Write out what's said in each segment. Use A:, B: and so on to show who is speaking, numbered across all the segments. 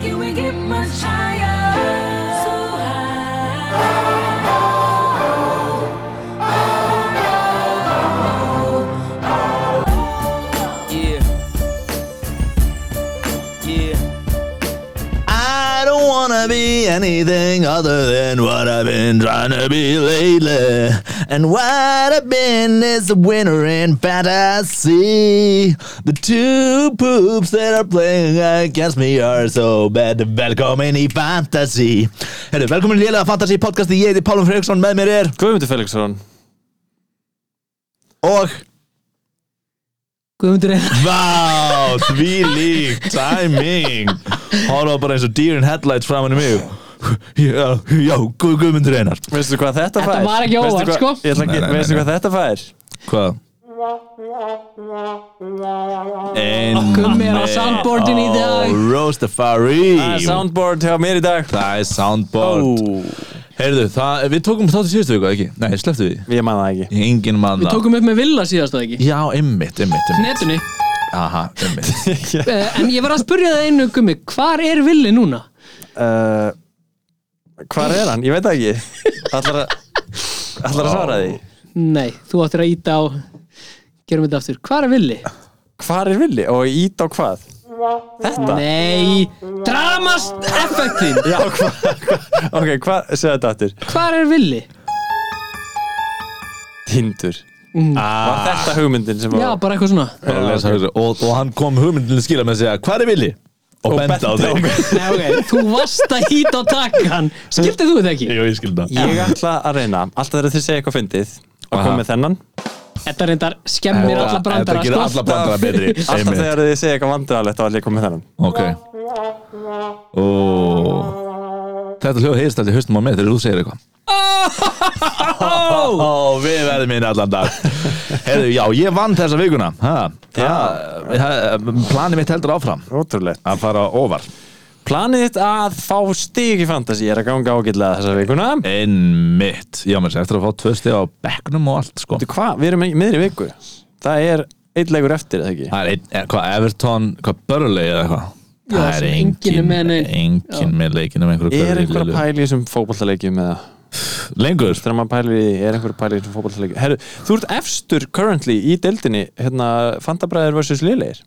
A: Can we get much higher? So high.
B: Yeah. Yeah. I don't wanna be anything other than what I've been trying to be lately. And what I've been is a winner in fantasy. The two poops that are playing against me are so bad. Velkomin í fantasy. Herru, velkomin í lélega fantasy podcasti. Ég heiti Pálum Freiksson, með mér er
C: Guðmundur Felixson
B: og
D: Guðmundur Einar
B: Vá, því lík, timing Horfa bara eins og deer in headlights framan í mig Já, já, Guð- Guðmundur Einar
C: Veistu hvað þetta fær?
D: Þetta var ekki
C: Veistu
D: óvart,
C: hvað-
D: sko.
C: Ég ætla
B: Nei, nei,
C: ekki,
B: nei,
C: veistu
B: nei.
C: hvað þetta fær?
B: Hvað? Ein
D: Gummi er á soundboardinu í dag.
B: Rostafari
C: Það er soundboard hjá mér í dag
B: Það er soundboard
C: Ó,
B: Heyrðu, það, við tókum þátt í síðustu viku, ekki? Nei, slepptu við
C: Ég man það ekki
B: því Engin mann
D: Við tókum upp með Villa síðast að ekki
B: Já, ymmit, ymmit, ymmit
D: Netunni
B: Aha, ymmit
D: uh, En ég var að spurja það einu Gummi Hvar er Villi núna?
C: uh, Hvar er hann? Ég veit það ekki Ætlar að Ætlar að svara því
D: Nei, þú áttir að íta á Gerum þetta aftur Hvar er Villi?
C: Hvar er villi? Og ít á hvað? Þetta?
D: Nei Dramast effektin
C: Já, hvað? Hva, ok, hvað? Segðu þetta aftur
D: Hvar er Villi?
C: Tindur Var þetta hugmyndin sem
D: Mm. Já, bara eitthvað svona
B: Bara að lesa þessu. Og og hann kom hugmyndin til skila með að segja Hvar er Vili? Og
C: Og
B: benda á
C: benti á
B: þig
C: mig.
D: Nei, ok Þú varst að íta á takkan Skildir þú þetta ekki?
B: Jú, ég skildi það
C: Ég ætla að reyna Alltaf þegar þið segja eitthvað fyndið Og
B: Aha.
C: kom með þennan
D: Þetta reyndar skemmir alla
B: Þetta
D: brandara
B: gerir alla
D: sko
B: brandara betri
C: Alltaf
B: Einmitt.
C: þegar þið segja eitthvað vandræðalegt Þá ætla ég að koma með þennan
B: Ok Ó. Þetta hljóð heyrst allir höstum á mig þegar þú segir eitthvað Ó, við verðum inn allan dag Heyrðu, já, ég vann þessa vikuna ha, það, Planið mitt heldur áfram
C: Ótrúlegt
B: að fara ofar
C: Planið þitt að fá stig í fantasy er að ganga ágætlega þessa vikuna
B: Einmitt, já, mér sé eftir að fá tvö stið á bekknum og allt, sko
C: Þú hvað, við erum í miðri viku Það er einn leikur eftir, eða ekki?
B: Það er einn, eh, hvað, Everton, hvað, Börley eða eitthvað
D: Já,
B: Það er
D: sem enginn er
B: engin,
D: með neinn. Já.
B: engin með leikinu með einhverju
C: Er
B: Burnley
C: einhver að
B: liðlu.
C: pæla í þessum fótballtaleikjum eða?
B: Lengur?
C: Þegar maður pælir í, er einhver að pæla í þessum fótballtaleikjum? Herru, þú ert efstur currently í deildinni, hérna, Fandabræðir vs. Lileir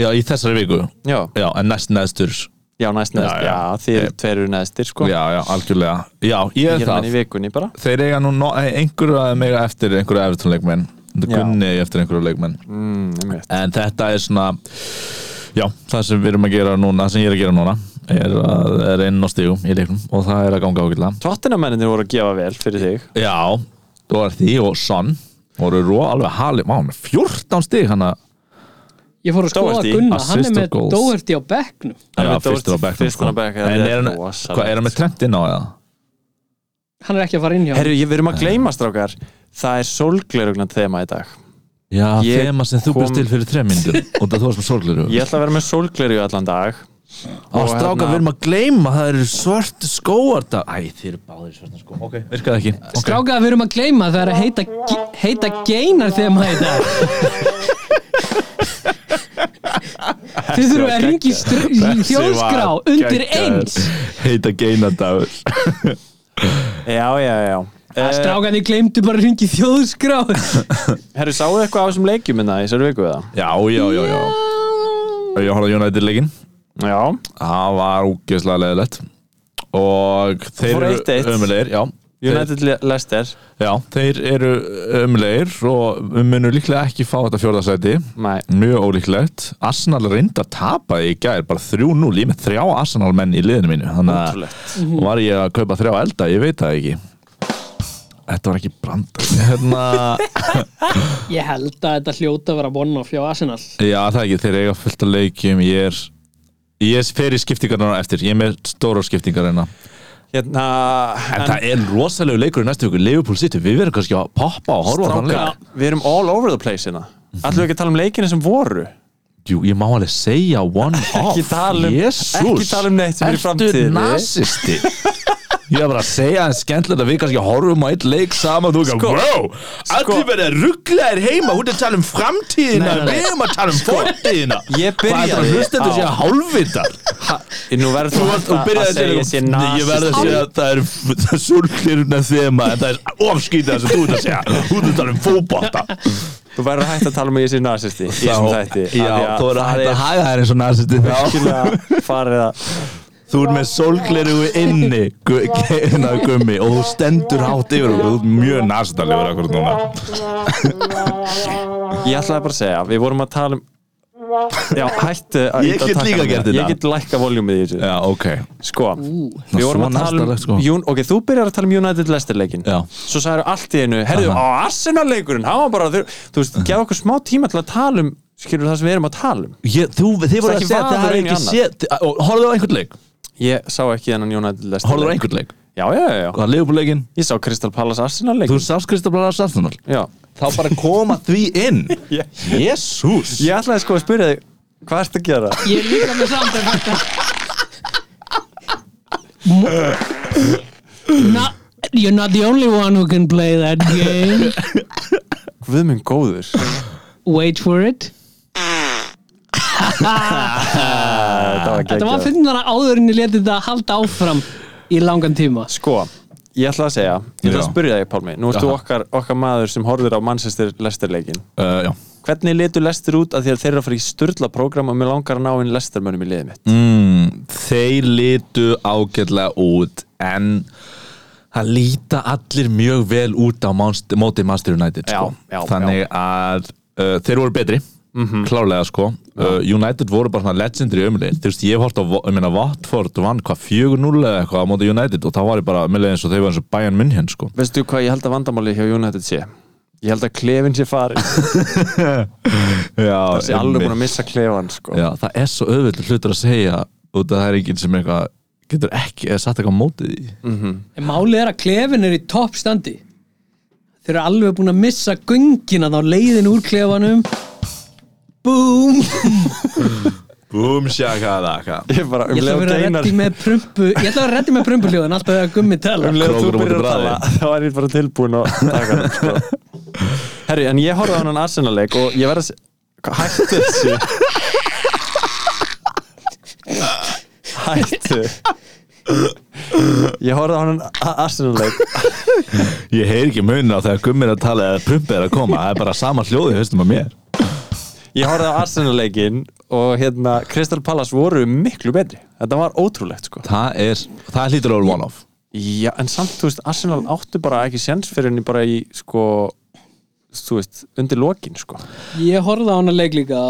B: Já, í þessari viku
C: Já,
B: Já, en næst neðstur
C: já, næst
B: Já,
C: neðst, já,
B: já.
C: þið
B: Ég-
C: eru tveir eru neðstir, sko
B: Já, já, algjörlega Já, ég er
C: Hérna
B: það
C: í vikunni bara
B: Þeir eiga nú no- eh, einhverju að mega eftir einhverju eftirleikmenn Þetta
C: Já.
B: gunni eigi eftir einhverju leikmenn
C: mm, einmitt.
B: En þetta er svona Já, það sem við erum að gera núna Það sem ég er að gera núna Er að er inn á stígum í leiknum Og það er að ganga ágætlega
C: Tottenhamennir voru að gefa vel fyrir þig
B: Já, þú var því og Son voru ró alveg hali Má, hann er 14 stíg hann að
D: Ég fór að skoða
C: Doherty,
D: Gunna Hann er
B: assist
D: með
B: og goals.
D: Doherty á bekknum
C: Hann
B: Já,
C: er með
B: fyrstur á
C: Doherty-
B: bekk
C: fyrstur á bekk, það
B: En
C: er
B: er hann,
C: rosalegt.
B: hvað, er hann með trend inn á eða?
D: Hann er ekki að fara inn hjá
C: Herru, ég verum að gleyma strákar Það er sólglerugna þema í dag
B: Já,
C: Ég
B: þema sem þú byrst
C: kom-
B: til fyrir tremmyndur Og það þú varst með sorgleru
C: Ég ætla að vera með sólgleru allan dag
B: Og
C: Og
B: stráka,
C: hérna-
B: við erum að gleyma, það eru svörtu skóar það. Æ, þið eru báðir í svörtu skóar. Ok, virkaði ekki. Okay.
D: Strákaða við erum að gleyma það er að heita, heita geinar þegar maður þetta Þið þurfum að ringi þjóðskrá undir eins
B: Heita geinadagur.
C: Já, já, já uh,
D: Strákaði gleymdu bara að ringi þjóðskrá
C: Herru, sáu þið eitthvað á þessum leikjum innan í þessari viku eða?
B: Já, já, já, já. Ég horfði að United leikinn.
C: Já,
B: Það var úgeðslega leðilegt. Og þeir
C: fór
B: eru
C: 1-1.
B: ömulegir, já. Þeir,
C: United Le- Leicester
B: já, þeir eru ömulegir og við munum líklega ekki fá þetta fjórðarsæti.
C: Nei,
B: Mjög ólíklegt. Arsenal reynda að tapa í gær, bara 3-0. Ég er með þrjá Arsenal menn í liðinu mínu. Þannig að
C: ótrúlegt
B: Var ég að kaupa þrjá elda? Ég veit það ekki Þetta var ekki brandar hérna,
D: Ég held að þetta hljóta að vera vonn og fjá Arsenal
B: Já, það er ekki, þeir eiga fullt af leikjum Ég er Ég fer í skiptingarna á eftir, ég er með stóra skiptingar hérna
C: Hérna,
B: En
C: en,
B: það er rosalegu leikur í næstu viku, Liverpool City, við verðum kannski að poppa og horfa á þann
C: strákar,
B: leik
C: við erum all over the place hérna Ætlum við ekki að tala um leikina sem voru
B: Jú, ég má alveg segja one off
C: tala um- ekki tala um neitt sem er í framtíðinni.
B: Ertu nasisti? Ég er bara að segja en skemmtilegt að við kannski horfum á eitt leik saman og þú ekki,
C: Sko,
B: wow, allir verða rugglaðir heima, hún er að tala um framtíðina
C: Nei, nei, nei.
B: við erum að tala um fórtíðina
C: Ég
B: Hvað er það
C: byrjaði
B: að hlusta þetta sé
C: á-
B: að hálfvitar?
C: ha, Nú verður
B: Þú varst,
C: þú
B: þú
C: alltaf að
B: byrjaði að
C: segja að sé
B: segja Nei, Ég verð að segja
C: nasisti.
B: að það er, það er sólklirna þema En það er ofskýta þess að þú ert að segja Þú ert að tala um fótbolta
C: Þú verður hægt að tala um að ég sé nazisti í þessum þætti af því
B: Já,
C: að
B: þú er að
C: það
B: hægt að haga þær eins og nasisti
C: virkilega farið að
B: Þú ert með sólkleru inni gu- hérna, Gummi og þú stendur hátt yfir okkur Þú ert mjög nasistalegur akkur núna
C: Ég ætlaði bara að segja, við vorum að tala um Já, hættu að
B: Ég
C: ýta á
B: get líka
C: takkann.
B: gert þetta.
C: Ég get lækka voljúmið í þessu
B: Já, ok
C: Sko, við vorum að
B: svona
C: tala um
B: nastalegt, sko.
C: Jún, Ok, þú byrjar að tala um United Leicester leikin
B: Já.
C: Svo sagður allt í einu, herðu, á Arsenal leikurinn Hann var bara, þú- þú veist, gefa okkur smá tíma til að tala um Skilur það sem við erum að tala um
B: ég, Þú, þið voru að
C: ekki
B: segja að það
C: vaður
B: er
C: inn í
B: ekki séð og Horfðu á einhvern leik
C: Ég sá ekki þennan United Leicester
B: Horfðu á
C: leik.
B: einhvern leik
C: Já, já, já, já
B: Það er leifuleikin
C: Ég sá Crystal Palace Arsenal
B: Þú
C: leikin
B: sást Kristoflar að Sartunar
C: Já
B: Þá bara koma því inn Jésús
C: Ég ætlaði sko að spyrja þig, hvað ertu að gera?
D: Ég er líka með samt að þetta Not, You're not the only one who can play that game
C: Guð minn góður
D: Wait for it
C: Þetta var
D: Þetta var
C: geggjað.
D: finnara áður en ég leti þetta halda áfram í langan tíma
C: Sko, ég ætla að segja Ég ætla að
B: Já.
C: spyrja þig, Pálmi Nú ertu
B: Jaha.
C: okkar, okkar maður sem horfir á Manchester Leicester-leikin
B: uh, Já
C: Hvernig litur Leicester út að því að þeir eru að fara í styrla program og mér langar að ná inn Leicester-mönnum í liðið mitt
B: þeir litu ágætlega út en það líta allir mjög vel út á Manst- móti Master United sko.
C: Já, já,
B: þannig
C: já. Mhm.
B: að uh, þeir voru betri klárlega sko uh, United voru bara svona legendary umlið þú veist ég hef hórt á Vo- ég meina, Watford vann hvað 4-0 eða eitthvað á móti United og það var ég bara umlið eins og þeir var eins og Bayern München sko
C: Veistu hvað ég held að vandamáli hjá United sé? Ég held að klefin sé farin
B: já,
C: Þessi alveg búin að missa klefan sko.
B: já, það er svo auðvitað hlutur að segja út að það er enginn sem eitthvað getur ekki eða satt eitthvað á mótið í
C: Mm.
D: En málið er að klefin er í toppstandi Þeir eru alveg búin að missa göngina þá leiðin úr klefanum Búm
C: Um
B: Búm sjaka daka
C: Ég er bara um
D: Ég ætla að
C: leið og
D: vera
C: geinar
D: reddi með prumpu Ég ætla að vera reddi með prumpuhljóðan alltaf þegar gummi tala
C: Um leið og
B: Krókur á
C: þú
B: móti
C: byrjar að
B: Bræði.
C: tala þá er ég bara tilbúin að taka hann sko. Herri, en ég horfði á hann Arsenal-leik og ég verði að se- Hvað- Hættu þessu Hættu Ég horfði á hann Arsenal-leik
B: Ég heyr ekki munin á þegar gummir að tala eða prumpið er að koma, það er bara sama hljóði höstum að mér
C: Ég horfði á Arsenal-leikin og hérna Crystal Palace voru miklu betri Þetta var ótrúlegt sko
B: Það er, það hlýtur over one off
C: Já, en samt, þú veist, Arsenal áttu bara ekki séns fyrir henni bara í sko þú veist, undir lokin sko
D: Ég horfði á hana leik líka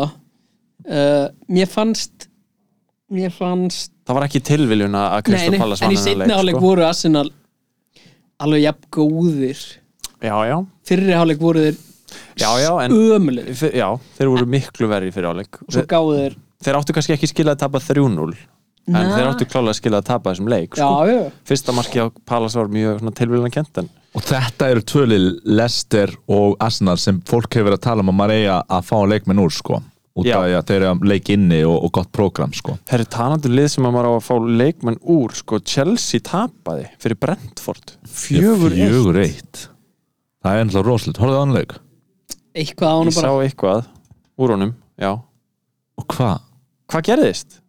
D: uh, Mér fannst Mér fannst
C: Það var ekki tilviljun að að
D: Nei,
C: Crystal
D: nei,
C: Palace
D: en
C: vann
D: í
C: þennan
D: seinni háleik
C: sko.
D: voru Arsenal alveg jafn góðir
C: Já, já,
D: Fyrri háleik voru þeir
C: já, já, en
D: ömulegir
C: fyr, já, þeir voru miklu verri fyrir áleik
D: og svo gáðu þeir
C: Þeir áttu kannski ekki skilja að tapa 3-0 en
D: Nei.
C: þeir áttu klálega að skilja að tapa þessum leik
D: Já,
C: sko.
D: já,
C: Fyrsta marki á Palace var mjög tilviljun að kent en
B: Og þetta eru tvöli Lester og Arsenal sem fólk hefur verið að tala um að maður eiga að fá leikmenn úr sko Út
C: Já.
B: af því að þeir eru að leik inni og, og gott prógram sko
C: Það eru talandi um lið sem að maður á að fá leikmenn úr sko, Chelsea tapaði fyrir Brentford fjögur
B: Ég-
C: eitt
B: Fjögur eitt Það er ennlega rosalit, horfðu á hann leik
D: eitthvað á hana
C: Ég sá
D: bara
C: eitthvað úr honum, já
B: Og hvað?
C: Hvað gerðist?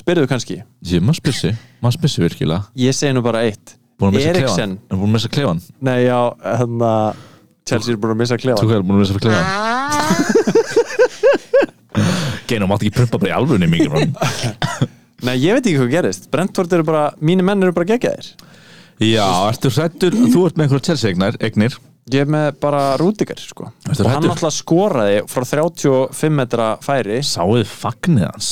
C: Spyrðu kannski
B: Ég, maður spyrsi, maður spyrsi virkilega
C: Ég segi nú bara eitt
B: Búin að missa klefan
C: Eriksen.
B: Er Búin að missa klefan
C: Nei, já, hérna Chelsea er búin að missa klefa
B: Þú hefur búin að missa klefan Geinu, mátt ekki prumpa bara í alvunni mikið frá
C: Nei, ég veit ekki hvað gerðist Brentford eru bara, mínu menn eru bara geggjæðir
B: Já, ertu hrættur, þú ert með einhverja Chelsea eignir, eignir.
C: Ég er með bara Rúdiger, sko
B: Ertu
C: Og hann
B: hræddur?
C: alltaf skoraði frá 35 metra færi
B: Sáuð fagnið hans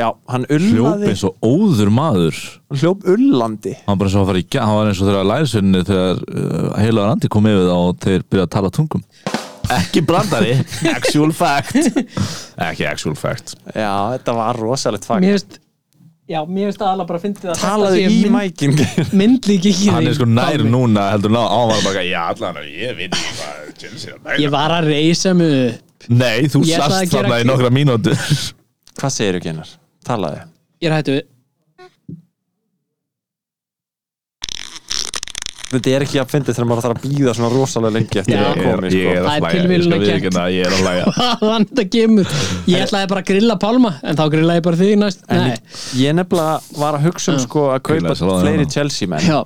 C: Já, hann
B: Hljóp
C: ullaði
B: eins og óður maður
C: Hann hljóp ullandi
B: Hann bara eins og að fara í gæð, hann var eins og þegar lærisvinni þegar uh, heilagar andi kom yfir þá og þeir byrjaði að tala tungum Ekki brandari, actual fact Ekki actual fact
C: Já, þetta var rosalegt fag
D: Mér veist Já, mér veist aðalega bara fyndið að
C: Talaðu í mækin
D: Myndlík ekki
B: Hann er sko nær núna, heldur ná, hann var bara, já allan, ég veit ekki hvað Chelsea er að
D: Ég var að reysa mig upp
B: næra Nei, þú
D: Ég ætlaði
B: sast
D: að gera
B: þarna í
D: grín.
B: nokkra mínútur
C: Hvað segir ekki hennar? Talaðu
D: Ég er hættu við
C: þetta er ekki að fyndið þegar maður þarf að býða svona rosalega lengi eftir
D: Já.
C: að komi
B: Ég er að
C: sko.
D: Það er
B: hlæja, ég
D: tilviljun
B: skal
D: að
B: viðurkenna að ég er að hlæja
D: hvaðan þetta kemur ég ætlaði bara að grilla Pálma en þá grilla ég bara þig næst
C: en
D: Nei.
C: ég, ég nefnilega var að hugsa um sko, að kaupa
B: Eiginlega salan
C: fleiri
B: þarna.
C: Chelsea menn
D: já,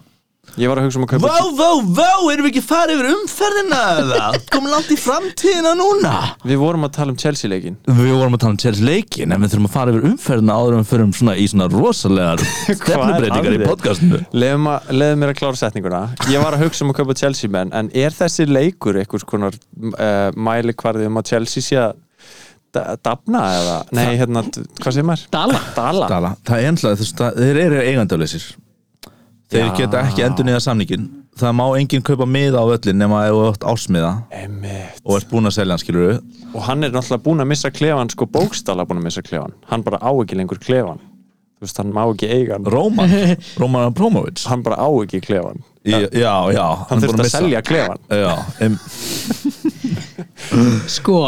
C: ég var að hugsa um að kaupa
B: Vá, vá, vá, erum við ekki farið yfir umferðina eða? Komum langt í framtíðina núna
C: við vorum að tala um Chelsea leikin
B: Við vorum að tala um Chelsea leikin en við þurfum að fara yfir umferðina áður en við förum svona í svona rosalegar stefnubreitingar í
C: þér?
B: podcastinu
C: Leðum, að, leðum mér að klára setninguna Ég var að hugsa um að kaupa Chelsea menn En er þessi leikur einhvers konar uh, mæli hvarði um að Chelsea sé að da- dafna eða Nei, hérna, d- hvað segir maður?
D: Dala.
C: Dala,
B: Dala, það er ennlega þess að þeir eru eigandafleysir Þeir geta ekki endur niða samningin Það má enginn kaupa miða á öllin nema ef þú átt ásmiða
C: Einmitt.
B: og ert búin að selja hann skilur
C: Og hann er náttúrulega búinn að missa klefan Sko bókstala búinn að missa klefan Hann bara á ekki lengur klefan Þú veist, hann má ekki eiga hann
B: Róman, Róman Abramovich
C: Hann bara á ekki klefan
B: Í- Já, já,
C: Hann
B: er búinn
C: þurfti að
B: missa-
C: selja klefan
B: Já, em,
D: sko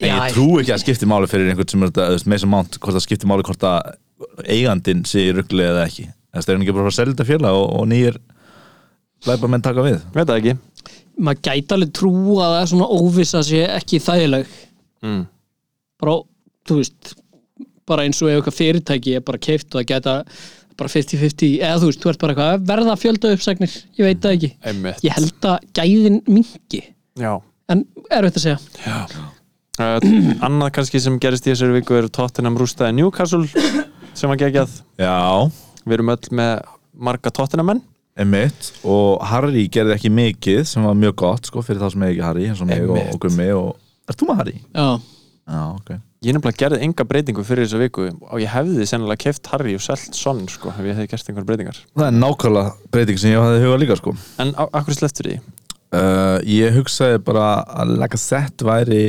B: En
D: já,
B: ég trú ekki að það skipti máli fyrir einhvern sem er þetta, þú veist, Mason Mount, hvort það skipti máli hvort að eigandin sé í ruggli eða ekki. Þess það er hann ekki bara að fara að selja þetta félag og, og nýjir læpa menn taka við.
C: Veit það ekki
D: maður gæti alveg trúa að það er svona óvissa sé ekki þægileg
C: mm.
D: bara, þú veist bara eins og ef eitthvað fyrirtæki er bara keift og það geta bara 50-50 eða þú veist, þú ert bara eitthvað verða fjölda uppsagnir ég veit það ekki,
C: Einmitt
D: ég held að gæðin mingi,
C: Já
D: en er þetta að segja
C: Uh, annað kannski sem gerist í þessari viku er Tottenham rústaði Newcastle sem var gegjað
B: Já,
C: við erum öll með marga Tottenhamenn
B: emitt, og Harry gerði ekki mikið sem var mjög gott, sko, fyrir þá sem hefði ekki Harry, eins og mig og,
C: Einmitt.
B: og Gummi og... Ert þú með Harry?
D: já,
B: Já, ok.
C: ég nefnilega gerði enga breytingu fyrir þessa viku og ég hefði sennilega keft Harry og selt Son sko, ef ég hefði gert einhver breytingar
B: Það er nákvæmlega breyting sem ég hafði hugað líka, sko.
C: en á- akkur sleftur því
B: Uh, ég hugsaði bara að Lacazette væri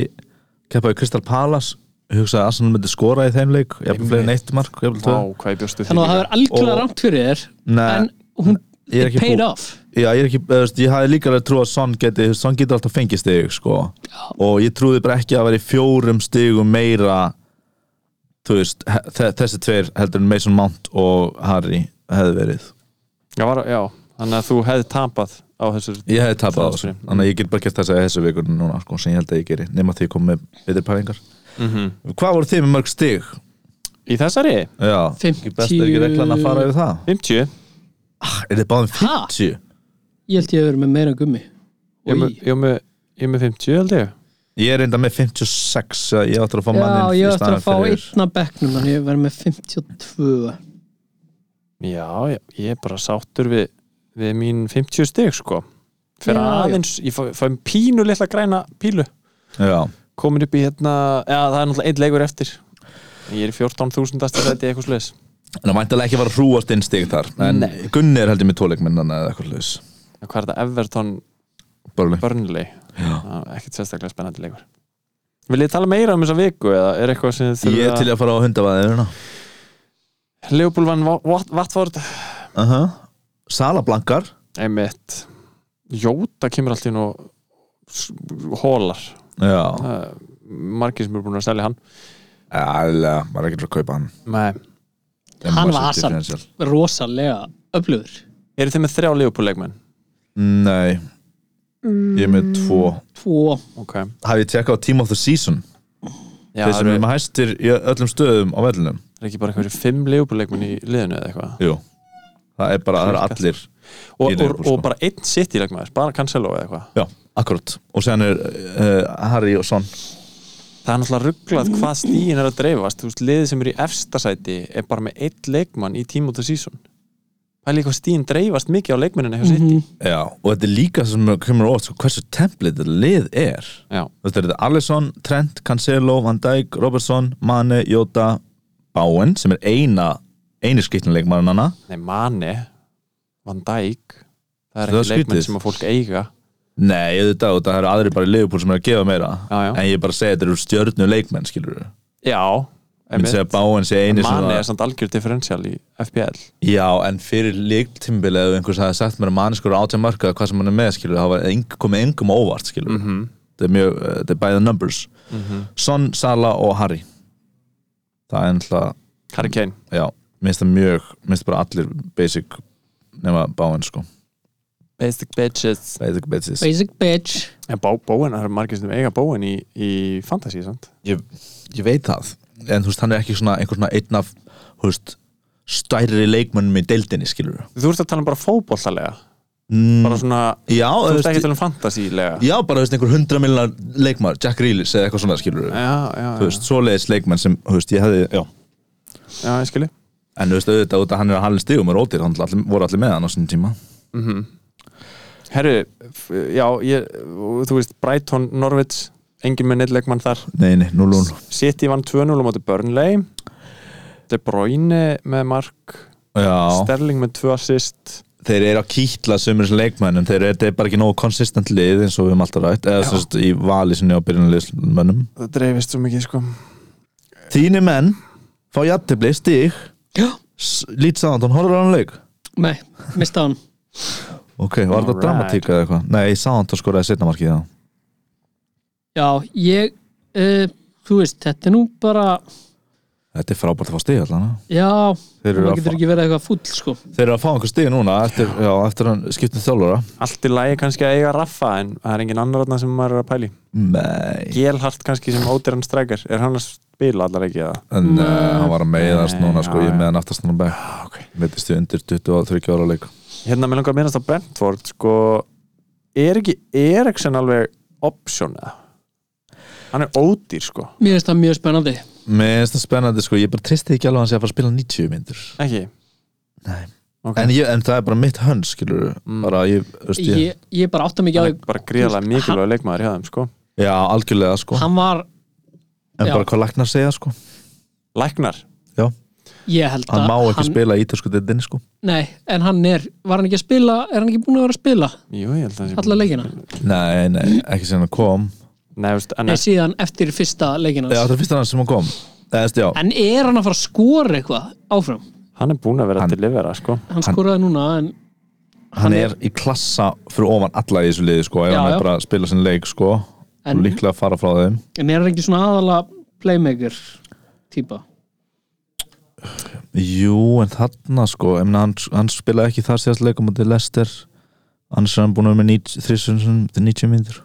B: keppaði Crystal Palace hugsaði að Arsenal myndi skora í þeim leik jafnvel fleiri en eitt mark jafnvel tvö.
C: Vá, hvað ég bjóstu því
D: þannig að það er algjörlega
B: Og-
D: rámt fyrir þér
B: Nei,
D: en hún,
B: ég er
D: it
B: ekki
D: paid
B: bú-
D: off
B: Já, ég er ekki, eða, þú veist, ég hafði líka alveg trú að Son geti, Son geti alltaf fengið stig, sko og ég trúði bara ekki að vera í fjórum stigum meira þú veist, he- þe- þessi tveir heldur en Mason Mount og Harry hefði verið.
C: já, var, já, þannig að þú hefði tapað á þessu
B: Ég hefði tapað á
C: Það er
B: þessu,
C: skrim.
B: þannig að ég get bara gert þess að þessu vikur núna, sko, sem ég held að ég geri nema því ég kom með betri pælingar Mhm. Hvað voru þið með mörg stig?
C: í þessari,
B: Já,
D: 50
B: ekki best er ekki reglan að fara yfir það
C: 50
B: Er þið báðum
D: Ha?
B: 50?
D: ég held ég að vera með meira en gummi
C: ég er með-
D: Oj.
C: ég er með ég er með 50 held ég
B: Ég er enda með 56 ég ætti að fá
D: já,
B: mannin
D: ég ætti að fá einna bekknum þannig ég verði með 52
C: já, ég, ég er bara sáttur við, við mín 50 stig sko fyrir
D: Já, já.
C: aðeins, ég fæ, fæ pínu litla græna pílu
B: Já,
C: komin upp í hérna já, það er náttúrulega einn leikur eftir ég er í 14.000 eftir þetta eitthvað sliðis
B: en það mæntalega ekki að fara að hrúast inn stig þar en
C: Nei.
B: Gunni er heldur með tóleikmennana eða eitthvað hljóðis
C: hvað er þetta Everton
B: Börli
C: Burnley Já, ekkert sérstaklega spennandi leikur vil ég tala meira um þessa viku eða er eitthvað sem þið
B: Ég er til
C: þurfa
B: í að fara á hundavaðið
C: að Leopold vann Wa- Wat- Watford
B: uh -huh. Sala blankar
C: einmitt Jóta kemur alltaf inn og s- hólar
B: Já,
C: uh, margir sem eru búin að selja hann
B: alveg, maður er ekki til að kaupa hann
C: Nei.
B: En
D: Hann
B: maður
D: var
B: sé
D: Hazard.
B: differential.
D: rosalega öflugur
C: eru þið með þrjá Leopold leikmenn
B: Nei, ég er með tvo
D: tvo
C: ok Já,
B: Hafið ég tekað á Team of the Season Þeir sem
C: eru
B: eru með hæstir í öllum stöðum á vellinum
C: er ekki bara einhverju fimm Leopold leikmenn í liðinu eða eitthvað
B: Jú, það er bara, það eru allir
C: og,
B: Í
C: og,
B: Liverpool,
C: og
B: sko.
C: bara einn sitt í leikmaður bara Cancelo eða eitthvað
B: Já, akkurat Og sen er uh, Harry og Son
C: það er náttúrulega rugglað hvað stíin er að dreifast þú veist, liðið sem er í efstasæti er bara með einn leikmann í tíma út af sísón það er líka hvað stíin dreifast mikið á leikmennina hjá sitt
B: Já, og þetta er líka sem kemur óvart sko, hversu template þetta lið er
C: já,
B: Þetta er þetta Alisson, Trent, Cancelo, Van Dijk, Robertson, Mane, Jota Bowen, sem er eina eini skiptinleikmannana
C: nei, Mane Van Dijk
B: Það
C: það er
B: er
C: ekki leikmenn
B: skrítið.
C: sem að fólk eiga
B: Nei, þetta, þetta eru aðri bara í Liverpool sem er að gefa meira
C: Já, já.
B: En ég er bara að segja, þetta eru stjörnu leikmenn, skilur við
C: já,
B: Ég myndi
C: einmitt.
B: segja að Bowen sé eini sem
C: Mane
B: að-
C: er samt algjör differential í FPL
B: Já, en fyrir leiktimbil eða einhvers hafði sagt mér að mann skur átján mörka eða hvað sem hann er með, skilur, það var eng, komið engum á óvart, skilur,
C: Mhm.
B: mm -hmm. þetta er mjög eh, þetta er by the numbers Son, Sala og Harry það er ennlega,
C: Harry Kane
B: já, minnst það mjög minnst bara allir basic nema báinn, sko
C: Basic bitches
B: Basic bitches
D: Basic bitch
C: En bó, bóin, það eru margir sem eiga bóin í, í fantasy, sant?
B: ég, ég veit það En þú veist, hann er ekki svona einhver svona einn af Þú veist, stærri leikmönnum í deildinni skilur
C: Þú ert að tala um bara fótbollalega
B: mm,
C: Bara svona,
B: Já,
C: þú
B: þú
C: ert ekki að
B: veist,
C: tala um fantasílega
B: já, bara þú veist, einhver hundra miljonar leikmaður Jack Reelis eða eitthvað svona skilur
C: já, já,
B: Þú veist, svoleiðis leikmenn sem, þú veist, ég hefði Já
C: já, ég skilji
B: En þú veist, auðvitað út að hann er að halin stigum og rótir, hann allir, voru allir með hann á sinni tíma
C: Herru, f- já, ég, þú veist, Brighton, Norwich Engin með neitleikmann þar
B: Nei, nei, 0-0
C: City vann 2-0 á móti Burnley De Bruyne með mark
B: Já,
C: Sterling með 2 assist
B: þeir eru að kýtla sömur sem leikmennum, þeir eru þetta er bara ekki nógu konsistent lið eins og við höfum alltaf rætt eða sem sagt í vali sinni á byrjunarliðsmönnum
C: Það dreifist svo mikið, sko
B: Þínu menn fá jafntefli, stig lítið saðan, horfður á hann leik
D: Nei, mista hann
B: Ok, var þetta
C: Alright.
B: dramatík eða eitthvað? Nei, saðan skoraði setna markið það
D: Já, ég uh, Þú veist, þetta er nú bara
B: Þetta er frábært að fá stig allan ha?
D: Já,
B: Þeir eru
D: maður
B: að
D: getur
B: fá-
D: ekki verið eitthvað fúll sko
B: Þeir eru að fá einhver stig núna eftir, já, eftir hann skiptum þjálfara
C: Allt í lagi kannski að eiga raffa en það er engin annar þarna sem maður er að pæli
B: Nei,
C: Gelhart kannski sem ódýran strækir Er hann að spila allar ekki eða?
B: en uh, hann var að meiðast
C: Nei,
B: núna sko,
C: já,
B: ég
C: já.
B: er með hann aftast núna bæk
C: ok.
B: Meittist þið undir 23 ára leik
C: Hérna með langar að minnast á Brentford sko, er ekki Eriksson alveg option eða? Hann er ódýr sko
D: Mér finnst það mjög spennandi
B: Mér finnst það spennandi sko, ég bara tristi ekki alveg að hann sé að fara að spila 90 myndur
C: Ekki?
B: Nei.
C: Ok.
B: en, ég, en það er bara mitt hönd skilur
C: Mm.
B: bara ég, veist, ég,
D: Ég, ég bara átta mikið á
C: Hann
D: því
C: er bara gríðarlega
D: Þú veist,
C: mikilvæg leikmaður hjá þeim sko
B: já algjörlega sko
D: Hann var,
B: en
D: já.
B: bara hvað læknar segja sko
C: Læknar
B: já,
D: ég held
B: hann
D: að
B: má ekki spila í ítalsku deildinni sko
D: Nei, en hann er, var hann ekki að spila Er hann ekki búin að vera að spila
C: Jú, ég held að það sé-
D: alla leikina?
B: nei, nei, ekki sem hann kom
C: Nei, veist, en
D: Nei, síðan eftir fyrsta leikina
B: já, það er fyrsta hann sem hann kom Eða, veist, já,
D: En er hann að fara að skora eitthvað áfram?
C: hann er búin að vera
B: Hann-
C: til livera sko
D: Hann skoraði núna en
B: hann er í klassa fyrir ofan alla í þessu liði sko ef
D: Já,
B: hann
D: já.
B: er bara að spila sinn leik sko
D: En-
B: og líklega að fara frá þeim
D: En er hann ekki svona aðalega playmaker típa?
B: Jú, en þarna sko en hann, hann spilaði ekki þar síðast leikum og til Lester annars er hann búin að vera með þrísunum til 90 myndur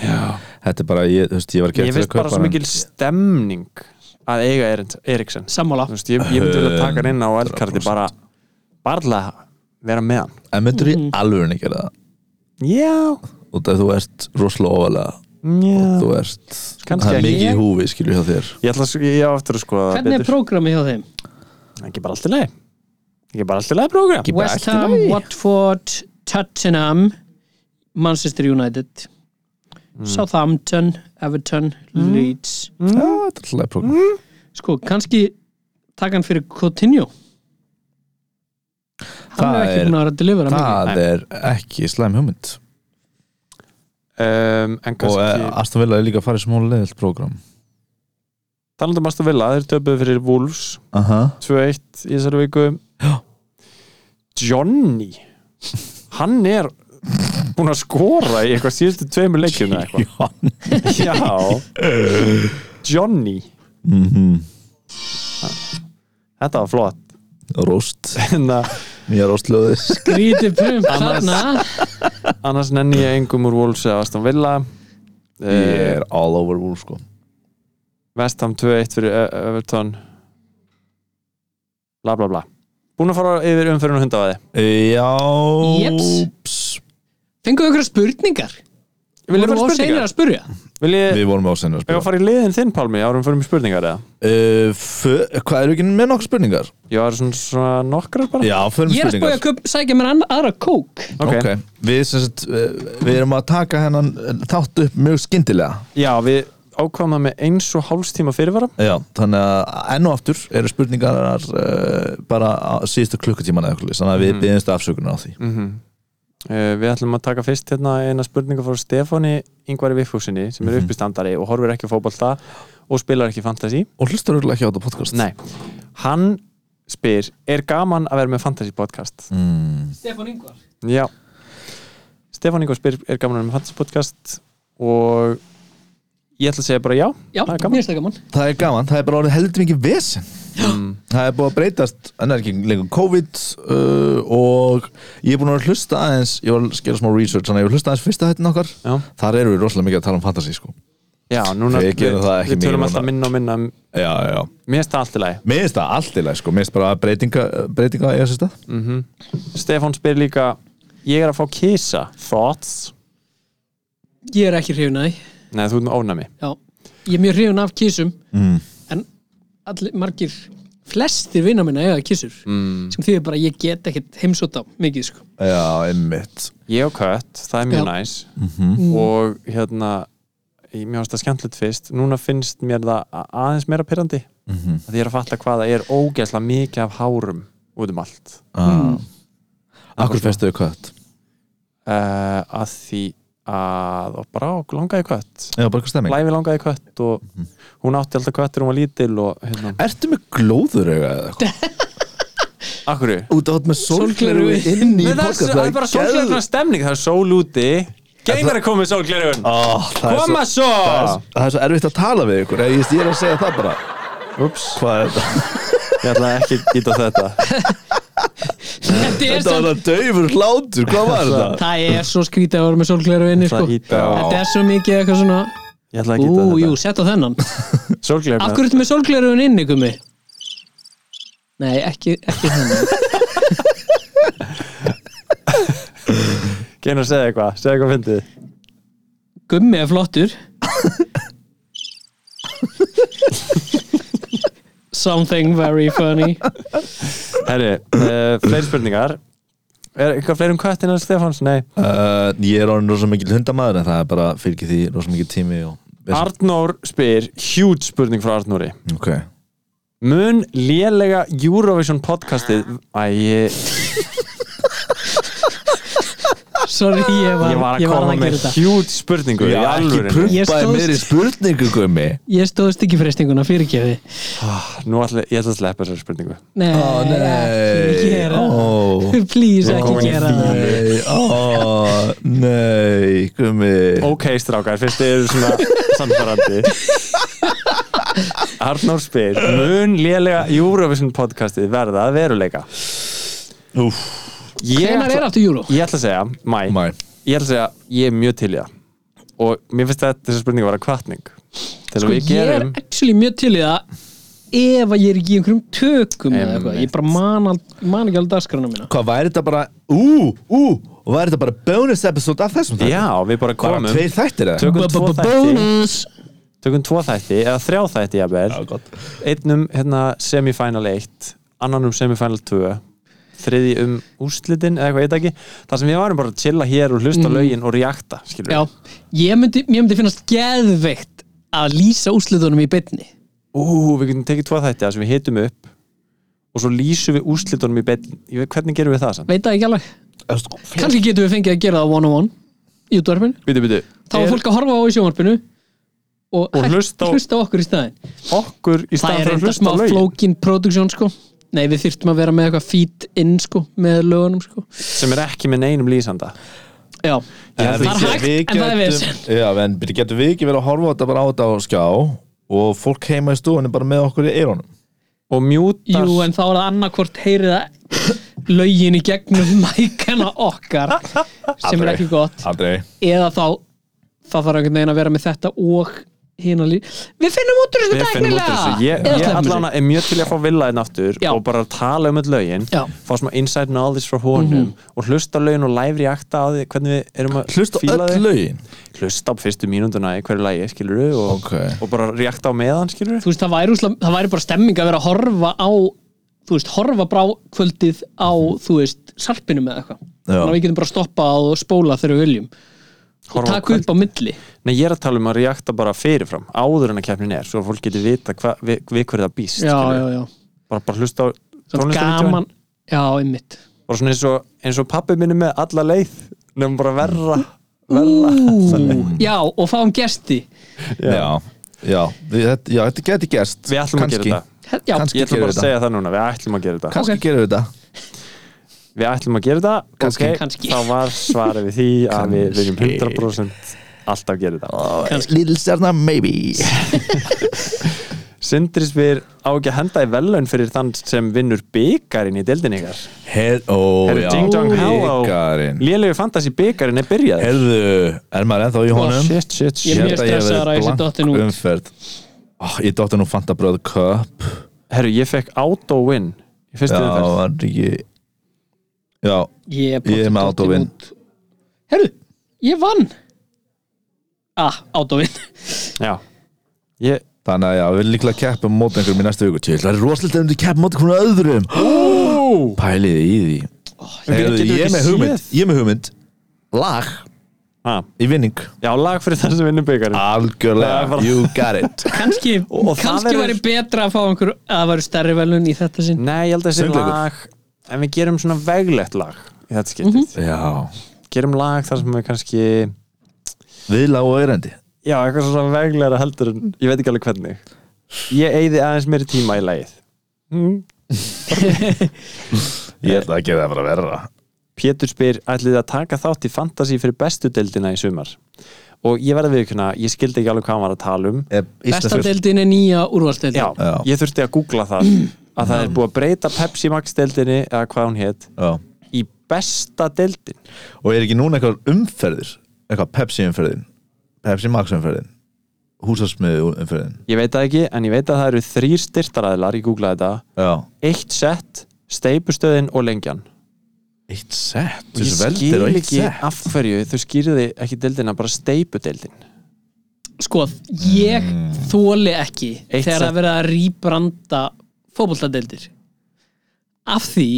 C: Já.
B: Þetta er bara, ég, þú veist, ég var að
C: Ég
B: gera til að
C: veist bara
B: kaupa
C: svo
B: hann
C: mikil stemning að eiga Eriksson
D: Sammála
C: Þú veist, ég, ég myndi
B: Um,
C: vilja taka hann inn á eldkarti bara, bara vera með hann
B: En myndur ég alveg ekki gera það
C: Já,
B: út af þú ert rosalega ofalega
C: já
B: þú ert,
C: Kannski
B: það er
C: ekki.
B: mikið í húfi skilur hjá þér
C: Ég ætla að sko, ég á eftir að skoða það
D: Hvernig er
C: betur.
D: prógrami hjá þeim?
C: Ekki bara allt í lagi Ekki bara allt í lagi prógram
B: Ekki- bara
D: West
B: allt í
D: Ham,
B: lagi.
D: Watford, Tottenham Manchester United Southampton, Everton Leeds
B: mm. ja, þetta er alltaf leið program
D: Sko, kannski taka hann fyrir Coutinho Hann
B: Það
D: er ekki
B: er-
D: búin að vera að delivera mikið
B: það er ekki slæm hugmynd
C: um, En
B: og
C: kannski
B: eh, Aston Villa er líka að fara í smóla leiðilt program
C: Talandum um Aston Villa, þeir töpuðu fyrir Wolves
B: aha,
C: 2-1 í þessari viku Johnny Hann er búinn að skora í eitthvað síðustu tveimur leikjum eða eitthvað. Já Johnny
B: mm
C: Þetta var flott
B: rost
C: Hérna,
B: nýja rostljóðis
D: Grítið prum þarna
C: Annars nenni ég engum úr Wolves eða Aston Villa Eh,
B: ég
C: yeah.
B: er all over wool sko
C: Vestham 2-1 fyrir Ö- Everton bla bla bla Búinn að fara yfir umfyrir og hundavaði
B: já,
D: Jeps.
B: ups.
D: Fengum við ykkur spurningar Við
C: fara í
D: vorum of
C: spurningar?
D: seinir að spurja
C: Vil ég
B: við vorum á senna að
C: Ég var að
B: spila
C: fara í liðin þinn, Pálmi, árum fyrir mér spurningar eða?
B: uh, f- hvað eru ekki með nokkur spurningar?
C: Ég var svona, svona nokkrar bara
B: já, förum í
D: Ég er að
B: spurningar
D: spurja að kaup- sækja mér anna- aðra kók
B: Ok, Við, sem sagt, eh, við erum að taka hennan þátt upp mjög skyndilega
C: Já, við ákvæmum það með eins og hálfstíma fyrirvara
B: Já, þannig að enn og aftur eru spurningar uh, bara á síðustu klukkutíman eða eitthvað, þannig að við
C: Mhm.
B: byggjumst afsökunar á því
C: mm Eh, Við ætlum að taka fyrst hérna eina spurningu frá Stefáni Ingvari Viffúsinni sem
D: Mhm.
C: er uppistandari og horfir ekki á fótbolta og spilar ekki fantasy
B: Og hlustar örugglega ekki á þetta podcast
C: Nei, hann spyr Er gaman að vera með fantasy podcast?
B: mm.
D: Stefán Ingvar
C: Já Stefán Ingvar spyr Er gaman að vera með fantasy podcast? Og ég ætla að segja bara já
D: Já,
C: Það er
D: mér
C: gaman.
D: finnst það gaman
B: Það er gaman, það er bara orðið heldur mikið vesen það er búið að breytast en er ekki lengur COVID uh, og ég er búin að hlusta aðeins ég var að skera smá research, þannig að ég var að hlusta aðeins fyrsta hættin okkar,
C: Já.
B: þar eru við rosalega mikið að tala um fantasy sko
C: Já, núna
B: Við gerum það ekki
C: við tölum
B: mikið
C: alltaf
B: núna.
C: minna og minna Mér
B: já, já, já.
C: finnst það allt í lagi
B: Mér finnst það allt í lagi sko, mér finnst bara að breytinga, breytinga eiga sér stað
C: Stefán spyr líka Ég er að fá kisa Thoughts?
D: ég er ekki hrifin að því
C: Nei, þú ert með ónæmi
D: Já, ég er mjög hrifin af kísum en allir, margir flestir vinna minna eiga kísur mm. sem því bara ég get ekkert heimsóta mikið sko
B: Já, einmitt
C: Ég og kött, það er mjög
D: Já. Mm.
C: næs Og hérna ég- Mér finnst það skemmtilegt fyrst Núna finnst mér það a- aðeins meira pyrrandi mm -hmm. Því ég er að fatta hvað það er ógæslega mikið af hárum út um allt
B: ah. Akkur festuðu kött?
C: uh, að því að og bara og langaði kött
B: Já, bara eitthvað stemming
C: Læfi langaði kött og hún átti alltaf kött þegar hún var lítil og hérna,
B: Ertu með glóður auga eða eitthvað?
C: akkurru
B: Út átt með
D: Sólgleru
B: sólgleru inn í
C: það, er svo-
B: podcast
C: það er bara sólglerugna stemning, það er sól úti gengar er komið sólglerugun
B: oh, það, er
C: koma
B: svo,
C: svo
B: það, er, það er svo erfitt að tala við ykkur Ég, ég er að segja það bara
C: ups,
B: Hvað er þetta?
C: ég ætla ekki að geta þetta
D: Þetta er
B: Þetta var
D: svo,
B: það daufur hlátur, hvað var þetta?
D: það er svo skrítið að vera með sólgleru inni
C: ætla
D: sko
C: að hýta á-
D: Þetta er svo mikið eitthvað svona
C: ég ætla að
D: Ú, jú,
C: geta
D: setta þennan
C: þetta
D: Af
C: sólglerugna
D: hverju ertu með sólgleruðun inni, gummi? Nei, ekki, ekki þennan
C: gengar segja eitthvað, segja eitthvað fyndið
D: Gummi er flottur Something very funny
C: herri, uh, fleiri spurningar er eitthvað fleiri um köttin en Stefáns? nei,
B: Uh, ég er orðin rosa mikil hundamaður en það er bara fylgir því rosa mikil tími og...
C: Arnór spyr huge spurning frá Arnóri
B: Ok
C: mun lélega Eurovision podcastið Æ, ég,
D: Sorry, ég var,
C: ég var að koma
D: gera
C: með
D: þetta
C: hjút spurningu
B: Já,
C: í
B: ekki
C: alvöru
B: prumpaði
D: Ég stóðst-
B: meiri spurningu, gummi
D: Ég stóðst ekki freystinguna fyrir kefi
C: Nú ætla ég ætla að sleppa þessari spurningu
D: Nei,
B: Ó,
D: ekki
B: nei
D: gera
B: Ó,
D: Please,
C: komin
D: ekki
C: í
D: gera það
B: nei Ó, nei, gummi
C: Ok, strákar, fyrst þið eru svona samfarandi Arnór spyr mun lélega Eurovision podcastið verða að veruleika
B: Úff.
C: Ég
D: Hvenær er
C: ætla,
D: aftur júró?
C: ég ætla að segja, mæ
B: Mæ
C: Ég ætla að segja, ég er mjög til í það og mér finnst að þessar spurningu vera kvartning til að við
D: Sko, Ég er
C: gerum
D: actually mjög til í það ef að ég er ekki í einhverjum tökum eða eitthvað, ég bara man, al, man ekki alveg dagskrana mína
B: Hvað væri þetta bara Ú, ú, og væri þetta bara bonus episode af þessum
C: Já, við bara
B: Bara
C: komum
B: tveir þættir eða?
C: tökum tvo þætti
D: Bonus
C: tökum tvo þætti eða þrjá þætti jafnvel
B: gott
C: einnum hérna, semifinal 1 annan um semifinal 2 þriði um úslitin eða eitthvað, ég veit ekki þar sem við varum bara að chilla hér og hlusta lögin og reakta, skilur
D: Mhm. Já, ég myndi, mér myndi finnast geðveikt að lýsa úsliðunum í beinni
C: ú, við getum tekið tvo þætti þar sem við hitum upp og svo lýsum við úslitunum í beinn ég veit hvernig gerum við það samt
D: veit það ekki alveg,
B: Kanski
D: kannski getum við fengið að gera það one on one í útvarpinu,
C: byrju, byrju,
D: þá er fólk að horfa á í sjónvarpinu og,
C: Og
D: hægt-
C: hlusta á-
D: hlusta á okkur í staðin
C: okkur í
D: það
C: staðan
D: er
C: fyrir að
D: reynda smá
C: hlusta á lögin
D: flókin production sko nei við þyrftum að vera með eitthvað feed in sko með lögunum sko
C: sem er ekki með neinum lýsanda
D: já,
C: Já,
D: það er
C: við-
D: hægt en það er við
B: Já, en byrju, getum við ekki verið að horfa á þetta bara á þetta á skjá og fólk heima í stúinu bara með okkur í eirónum
C: og mjútar
D: jú en þá er það annarkvort heyrið að lögin í gegnum mækana okkar sem er ekki gott
B: Aldrei
D: eða þá það þarf einhvern veginn að vera með þetta og hina lí við finnum út úr þessu
C: Við finnum út úr
D: tæknilega
C: þessu. Ég,
D: Eða
C: ég
D: sleppum
C: allan er mjög til í að fá villaðin aftur
D: Já.
C: og bara tala um öll lögin
D: Já. Mhm.
C: fá smá inside knowledge frá honum og hlusta á lögin og live reacta á því hvernig við erum að
B: Hlusta á
C: fíla
B: öll
C: þau.
B: lögin
C: hlusta á fyrstu mínúnduna í hverju lægi skilur og,
B: Ok.
C: og bara reacta á meðan skilur
D: þú veist, það væri, úsla, það væri bara stemming að vera að horfa á þú veist, horfa brá kvöldið á þú veist, sarpinu með eitthvað
B: Já.
D: þannig að við getum bara að stoppa og spóla þegar við viljum og taka upp á milli
C: Nei, ég er að tala um að reacta bara fyrirfram áður en að keppnin er, svo að fólk getur vita hva, við, við hverju það býst
D: já,
C: skilurðu.
D: já, já,
C: Bara, bara hlusta á
D: svona
C: tónlistavídeóin
D: gaman já, einmitt
C: bara svona eins og, eins og pappi minni með alla leið nefnum bara verra
B: Mm.
D: Ú, já, og fáum gesti
B: Já, já, við- þetta, já þetta geti gerst
C: við ætlum að
B: Kannski.
C: gera þetta
D: He- já,
B: Kannski.
C: ég ætla
B: gerum
C: bara að
B: þetta.
C: segja það núna, við ætlum að gera þetta
B: Kannski
D: Ok.
B: gerum við þetta
C: við ætlum að gera það
B: Kannski.
C: ok,
D: Kannski.
C: þá var svarið við því að við viljum
B: Kannski.
C: Oh. 100% alltaf gera það
B: Lítil stjarnar, maybe
C: Sindri spyr á ekki að henda í velun fyrir þann sem vinnur byggarinn í deildin ykkar
B: Her, ó,
C: Herru,
B: já,
C: Ding Dong Há á
B: bikarinn.
C: Lélegu fantasi byggarinn er byrjað
B: Herðu, er maður ennþá í honum?
C: Shit, shit, shit
D: Ég er mjög
B: Hérna,
D: stressaður að ég sé dottinn út.
B: umferð oh, Ég dotti nú Fanta Bröð Cup
C: Herru, ég fekk auto-win í
B: Já,
C: fyrstu umferð
B: var ekki Já,
D: Ég er,
B: ég er með átóvin
D: Herru, ég vann Ah, átóvinn
C: Já Ég,
B: Þannig að já, við erum líklega að keppa um mót einhverjum í næstu viku Til, það er rosalega um því að keppa mót einhverjum öðrum oh! Pæliði í því
C: getum
B: Heyrðu,
C: við
B: Ég er
C: ekki
B: með hugmynd,
C: séð?
B: ég er með hugmynd Lag
C: ha,
B: í vinning
C: já, lag fyrir þann sem vinnur byggarinn Það er
B: Algjörlega,
C: bara-
B: you got it
D: Kanski,
C: Og- og það
D: kannski
C: verður-
D: væri betra að fá einhver að það væri stærri velun í þetta sinn
C: Nei, ég held að þessi
B: Söngleikur.
C: lag En við gerum svona veglegt lag í þetta skiptið
B: Mhm. Já,
C: Gerum lag þar sem við kannski
B: við lágu öyrandi
C: Já, eitthvað svona veglegra heldur en Ég veit ekki alveg hvernig Ég eyði aðeins meiri tíma í lagið mm.
B: Ég ætla að gera það bara verra
C: Pétur spyr, ætlið þið að taka þátt í fantasy fyrir bestu deildina í sumar og ég verði viðkjöna, ég skildi ekki alveg hvað hann var að tala um
B: Eh,
D: Besta
B: Íslandsfjörð-
D: deildin er nýja úrvalsdeildin
C: Já,
B: Já.
C: ég þurfti að googla það að það er búið að breyta Pepsi Max deildinni eða hvað hún hétt,
B: Já.
C: í besta deildin
B: Og er ekki núna eitthvað umferðir Eitthvað Pepsi umferðin Pepsi Max umferðin Húsasmiði umferðin
C: Ég veit það ekki, en ég veit að það eru þrýr styrtaræðlar, ég googlaði þetta
B: Já
C: Eitt sett, steipustöðin og lengjan
B: Eitt sett
C: og ég
B: Þessu veldir
C: skil
B: og eitt
C: ekki
B: sett
C: af hverju þau skýrði ekki deildina, bara steipudeildin
D: Sko, ég þóli ekki
C: Mm. Eitt
D: þegar
C: sett.
D: að vera að rýbranda fótboltadeildir af því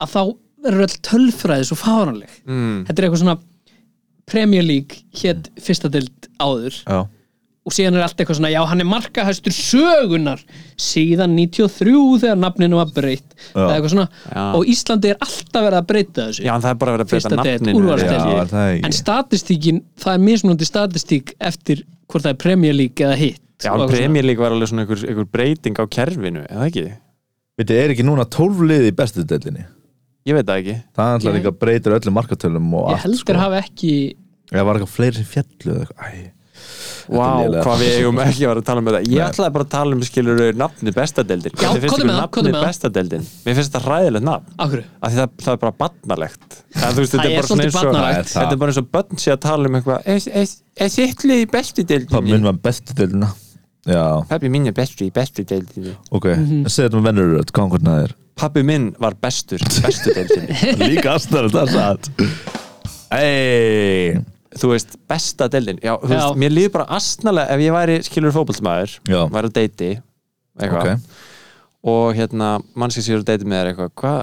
D: að þá verður öll tölfræði svo fáranleg
C: mm.
B: Hmm.
D: Þetta er eitthvað svona Premier League hétt fyrsta deild áður
B: Já
D: og síðan er allt eitthvað svona, já hann er markahæstur sögunar síðan 93 þegar nafninu var breytt
B: Já.
D: eða eitthvað svona,
C: Já.
D: og Íslandi er alltaf verið að breyta þessu
C: Já, en það er bara verið að breyta
D: Fyrsta deild,
C: nafninu
D: úrvalsdeild.
C: eða-
B: Já, er það
D: en
B: ekki
D: statistíkin, það er mismunandi statistík eftir hvort það er Premier League eða hitt
C: Já,
D: Og
C: en
D: eitthvað
C: Premier League var alveg svona einhver, einhver breyting á kerfinu, eða ekki?
B: Veitir, er ekki núna 12 lið í bestu deildinni
C: Ég veit það ekki.
B: Það er alltaf
D: Ég-
B: líka breytir öllum markatölum og
D: svona. ég
B: allt
D: heldur
B: sko.
D: sko. hafa ekki
B: Ég var eitthvað fleiri sem fjallu eða eitthvað Æ
C: Vá,
B: lélega.
C: hvað við eigum ekki að vera að tala um þetta. Ég
B: Nei.
C: ætlaði bara að tala um, skilur, nafni bestadeldin.
D: Já, komdu með það, komdu með það.
C: Bestadeldin. Mér finnst þetta hræðilegt nafn.
D: ákveðu
C: Af því það, það er bara barnalegt. Það, veist,
D: Það
C: þetta
D: er
C: bara svona
D: svolítið
C: eins og-
D: barnalegt.
C: Þetta er bara eins og börn sé að tala um eitthvað. "Er- Er er þitt lið í
B: Það
C: bestadeldinni?
B: munum að bestu deildina Já,
C: Pappi mín er bestur í bestadeldinni.
B: ok mm -hmm.
D: Mhm.
B: Segðu þetta með vennurröð, hvað hvernig það er
C: Pappi minn var bestur í bestadeldinni.
B: Líka aðstæður þetta satt Ei
C: þú veist, bestadeldin. Já, þú
D: Já.
C: veist, mér líður bara astnalega ef ég væri skilur fótboltmaður,
B: Já.
C: væri að deiti, eitthvað.
B: Ok
C: og hérna, mannski sér að deyta með þér eitthvað, hvað,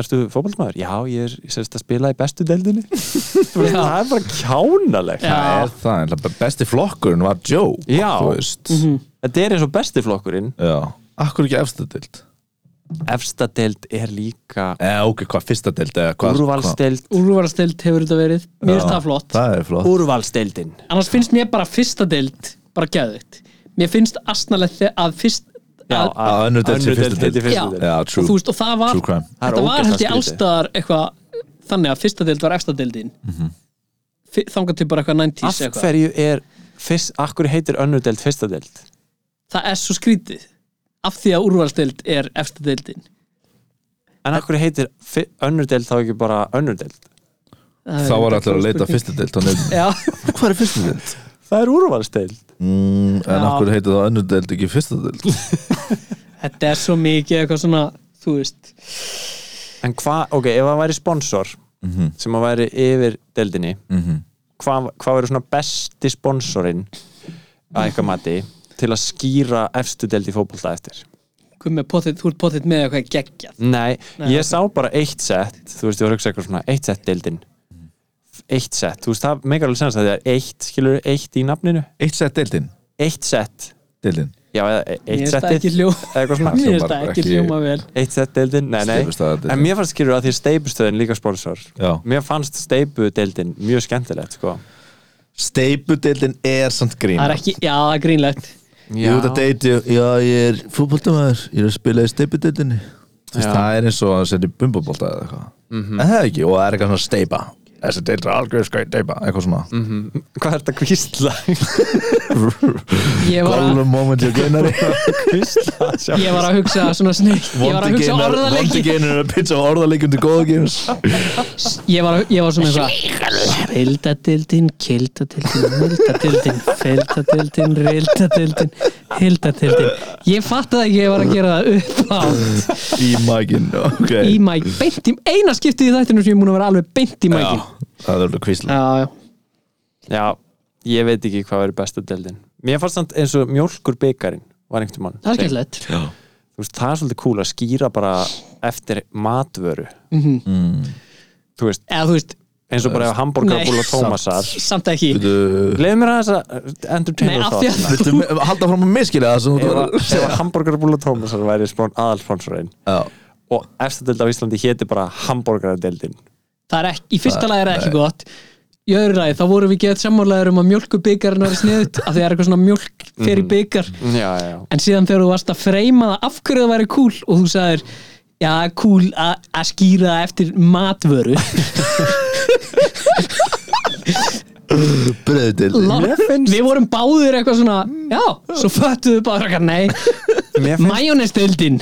C: ertu fótballmaður? Já, ég er ég sérst að spila í bestu deildinni Þú veist, það er bara kjánalegt
D: Já.
B: Það er það, en það besti flokkurinn var Joe
C: Já.
B: Þú veist
D: Mhm.
C: Þetta er eins og besti flokkurinn
B: Já, akkur ekki efsta deild
C: Efsta deild er líka
B: Eða Eh, ok, hvað fyrsta deild eða hvað
C: úrvalsdeild
D: úrvarasteild hefur þetta verið, mér finnst það
B: hvað-
D: flott
B: Það er flott
C: Úrvalsdeildin
D: annars finnst mér bara fyrsta deild bara geðvitt, mér finnst astnalegt að fyrst
C: Já,
D: að,
B: að önnur deild sé fyrstu deild.
C: heiti
D: Já.
C: fyrstu deild
B: Já,
D: og
B: true,
D: þú veist, og það var
B: true crime
C: Það er
D: þetta var
C: ógeðslega
D: held ég
C: skrítið.
D: allstaðar eitthvað þannig að fyrsta deild var efsta deildin mm þangað til bara eitthvað 90s
C: Af
D: eitthvað.
C: hverju er fyrst, akkur heitir önnur deild fyrsta deild
D: það er svo skrítið af því að úrvalsdeild er efsta deildin
C: En akkur heitir fi- önnur deild þá ekki bara önnur deild
D: Það er
B: Þá var allir
D: reyndar
B: að
D: góð
B: leita
D: spurning.
B: fyrsta deild á netinu.
D: Já,
B: Hvað er fyrsta deild?
C: Það er úrvalsdeild
B: Mm, en
D: Já.
B: akkur heitir það önnur deild ekki fyrsta deild
D: þetta er svo mikið eitthvað svona, þú veist
C: En hvað, ok, ef það væri sponsor
B: Mhm.
C: sem að væri yfir deildinni hvað, hvað væri svona besti sponsorinn að eitthvað mati til að skýra efstu deild í fótbolta eftir?
D: hvað með potið, þú ert potið með eitthvað geggjað
C: Nei,
D: Nei,
C: ég
D: ok.
C: sá bara eitt sett þú veist, ég var að hugsa eitthvað svona, eitt sett deildin eitt sett, þú veist, það meikar alveg sennast að það er eitt, skilur, eitt í nafninu
B: Eitt sett deildin
C: eitt sett,
B: Deildin
C: já, eða e-
D: Mér
C: eitt
D: finnst það ekki
C: settið,
D: hljó
C: eða eitthvað svona
D: Mér finnst
B: hljómar
D: það
B: bara
D: ekki
B: ekki-
D: hljóma vel
C: eitt sett deildin, nei, nei
B: Steypustaðadeildin.
C: en mér fannst skilur að því steipustöðin líka sponsor
B: Já.
C: mér fannst steipu deildin mjög skemmtilegt, sko
B: Steipudeildin er samt grín
D: Það er ekki, já, það er grínlegt
B: Ég er út að deiti, já ég er fútboltamaður Ég er að spila í steipudeildinni Þú veist,
C: Já.
D: Mhm.
B: Það er eins og að setja í bumbabólta eða eitthvað En það er ekki, og það er eitthvað svona steipa þessi deild er algjör skauð deipa eitthvað svona
C: Hvað er þetta kvísla?
D: ég var að
B: Golden moment hjá Gunnari
C: kvísla sjá.
D: Ég var að hugsa svona snill Ég var að hugsa
B: Vondi
D: orðaleiki
B: geinar er að pitcha um orðaleikjum til góða games
D: Ég var, að- ég var svona eins og Rildadildin, kildadildin Mildadildin, feldadildin Rildadildin, hildadildin Ég fatt að ekki að ég var að gera það upp átt
B: Í mækin Ok
D: Í mæk, beint í Eina skiptið í þættinu sem ég er múin að vera alveg beint í mækin
B: Já, Það er alveg kvísla
D: Já, já
C: Já, ég veit ekki hvað er besta deildin Mér fannst samt eins og mjólkur byggarinn var einhvern mann
D: Það er skemmtilegt
C: þú veist, það er svolítið cool að skýra bara eftir matvöru
D: Mhm.
C: þú veist,
D: Eða Mm. þú veist,
C: eins og bara hambúrgarbúla Tómasar
D: samt ekki
C: leiðu mér aðeins að uh,
D: Nei,
C: entertaina
D: af því að
B: Viltu me- halda fram að miskila það sem þú var
C: ef að hambúrgarbúla Tómasar væri spón aðalsponsorinn
B: Já
C: og eftirdeld af Íslandi héti bara hambúrgardeldin
D: það er ekki, í fyrsta lagi er það ekki gott í öðru lagi, þá vorum við geðt sammálaður um að mjölkubyggarinn var sniðut af því það er eitthvað svona mjölk fyrir byggar
C: já, já,
D: en síðan þegar þú varst að freyma það af hverju það væri cool og þú sagðir já, cool að að skýra það eftir matvöru
B: Bröðdil
D: Lá- við vorum báðir eitthvað svona já, svo föttuðu bara eitthvað nei
C: Mér finnst-
D: majónestildin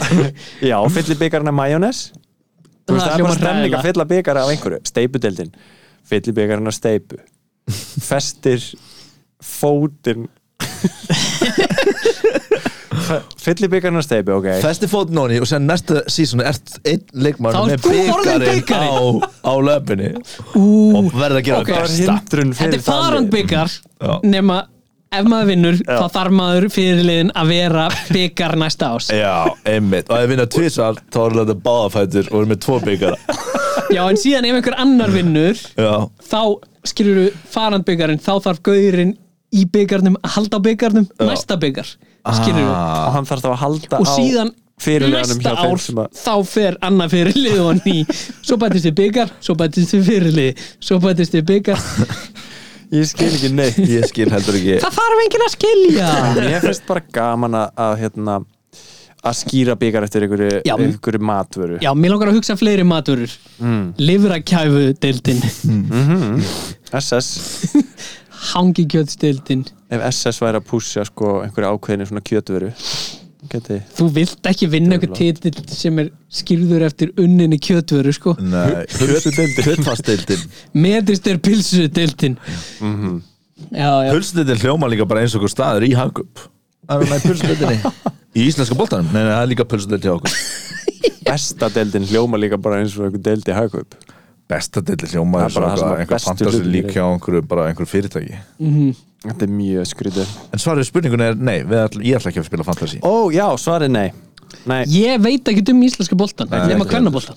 C: já fyllir byggarinn af majónes þú veist, það er bara stemning að fylla byggarinn af einhverju steipudeldin, fyllir byggarinn af steipu festir fótinn fyllir byggarinn af steipu, ok
B: Festi fótinn óni og sér næsta sísónu ert einn leikmann
D: Þá
B: með
D: ert þú orðinn
B: bikarinn á,
D: bikarinn.
B: á löpunni
D: ú,
B: og verður að gera
D: ok.
B: okay.
C: var
B: besta
C: hindrun fyrir
D: þetta er farandbyggar
B: Já.
D: nema ef maður vinnur þá þarf maður fyrirliðin að vera byggar næsta ás
B: Já, einmitt Og ef vinna tvisar þá er þetta báðafætur og er með tvo bikara
D: já en síðan ef einhver annar vinnur
B: Já,
D: þá skilur við farandbyggarinn þá þarf gaurinn í byggarnum að halda á byggarnum næsta byggar skilur við
C: og hann þarf þá að halda
D: og síðan
C: Ah. fyrirliðanum
D: næsta
C: hjá þeim
D: ár
C: sem að
D: þá fer annað fyrirlið og ný svo bætist við byggar, svo bætist við fyrirlið svo bætist við byggar
C: ég skil ekki neitt
B: ég skil heldur ekki
D: það þarf enginn að skilja
C: ég finnst bara gaman að, að hérna að skýra byggar eftir einhverju,
D: Já.
C: einhverju matvöru
D: já, mér langar að hugsa fleiri maturur mm. livrakæfu deildin
C: SS,
D: hangikjötsdeildin
C: ef SS væri að pússa sko einhverju ákveðinu svona kjötvöru geti
D: þú vilt ekki vinna einhver titill sem er skýrður eftir unninni kjötvöru sko.
B: Nei, hlutfastdeildin
D: metist er pilsudeildin
B: Mhm.
D: já, já,
B: Pulsdeildin hljóma líka bara eins og okkur staður í Hagup Það er næ pulsdeildinni Í íslenska boltanum? Nei, nei, það er líka pulsdeild hjá okkur
C: besta deildin hljóma líka bara eins og einhver deildi hagkaup
B: Besta deildin hljóma
C: Það er
B: er
C: bara
B: bara
C: það sem að
B: einhver
C: bestu
B: fantasy
C: hlutirnir
B: lík
C: eru.
B: hjá einhverju, bara einhverju fyrirtæki
C: þetta er mjög skrítið
B: En svarið við spurningunni er nei, við ætl, ég ætla ekki að spila fantasy
C: ó já, svarið nei nei,
D: ég veit ekki um íslenska boltan
B: Nei,
D: nema
B: ekki.
D: kvennaboltan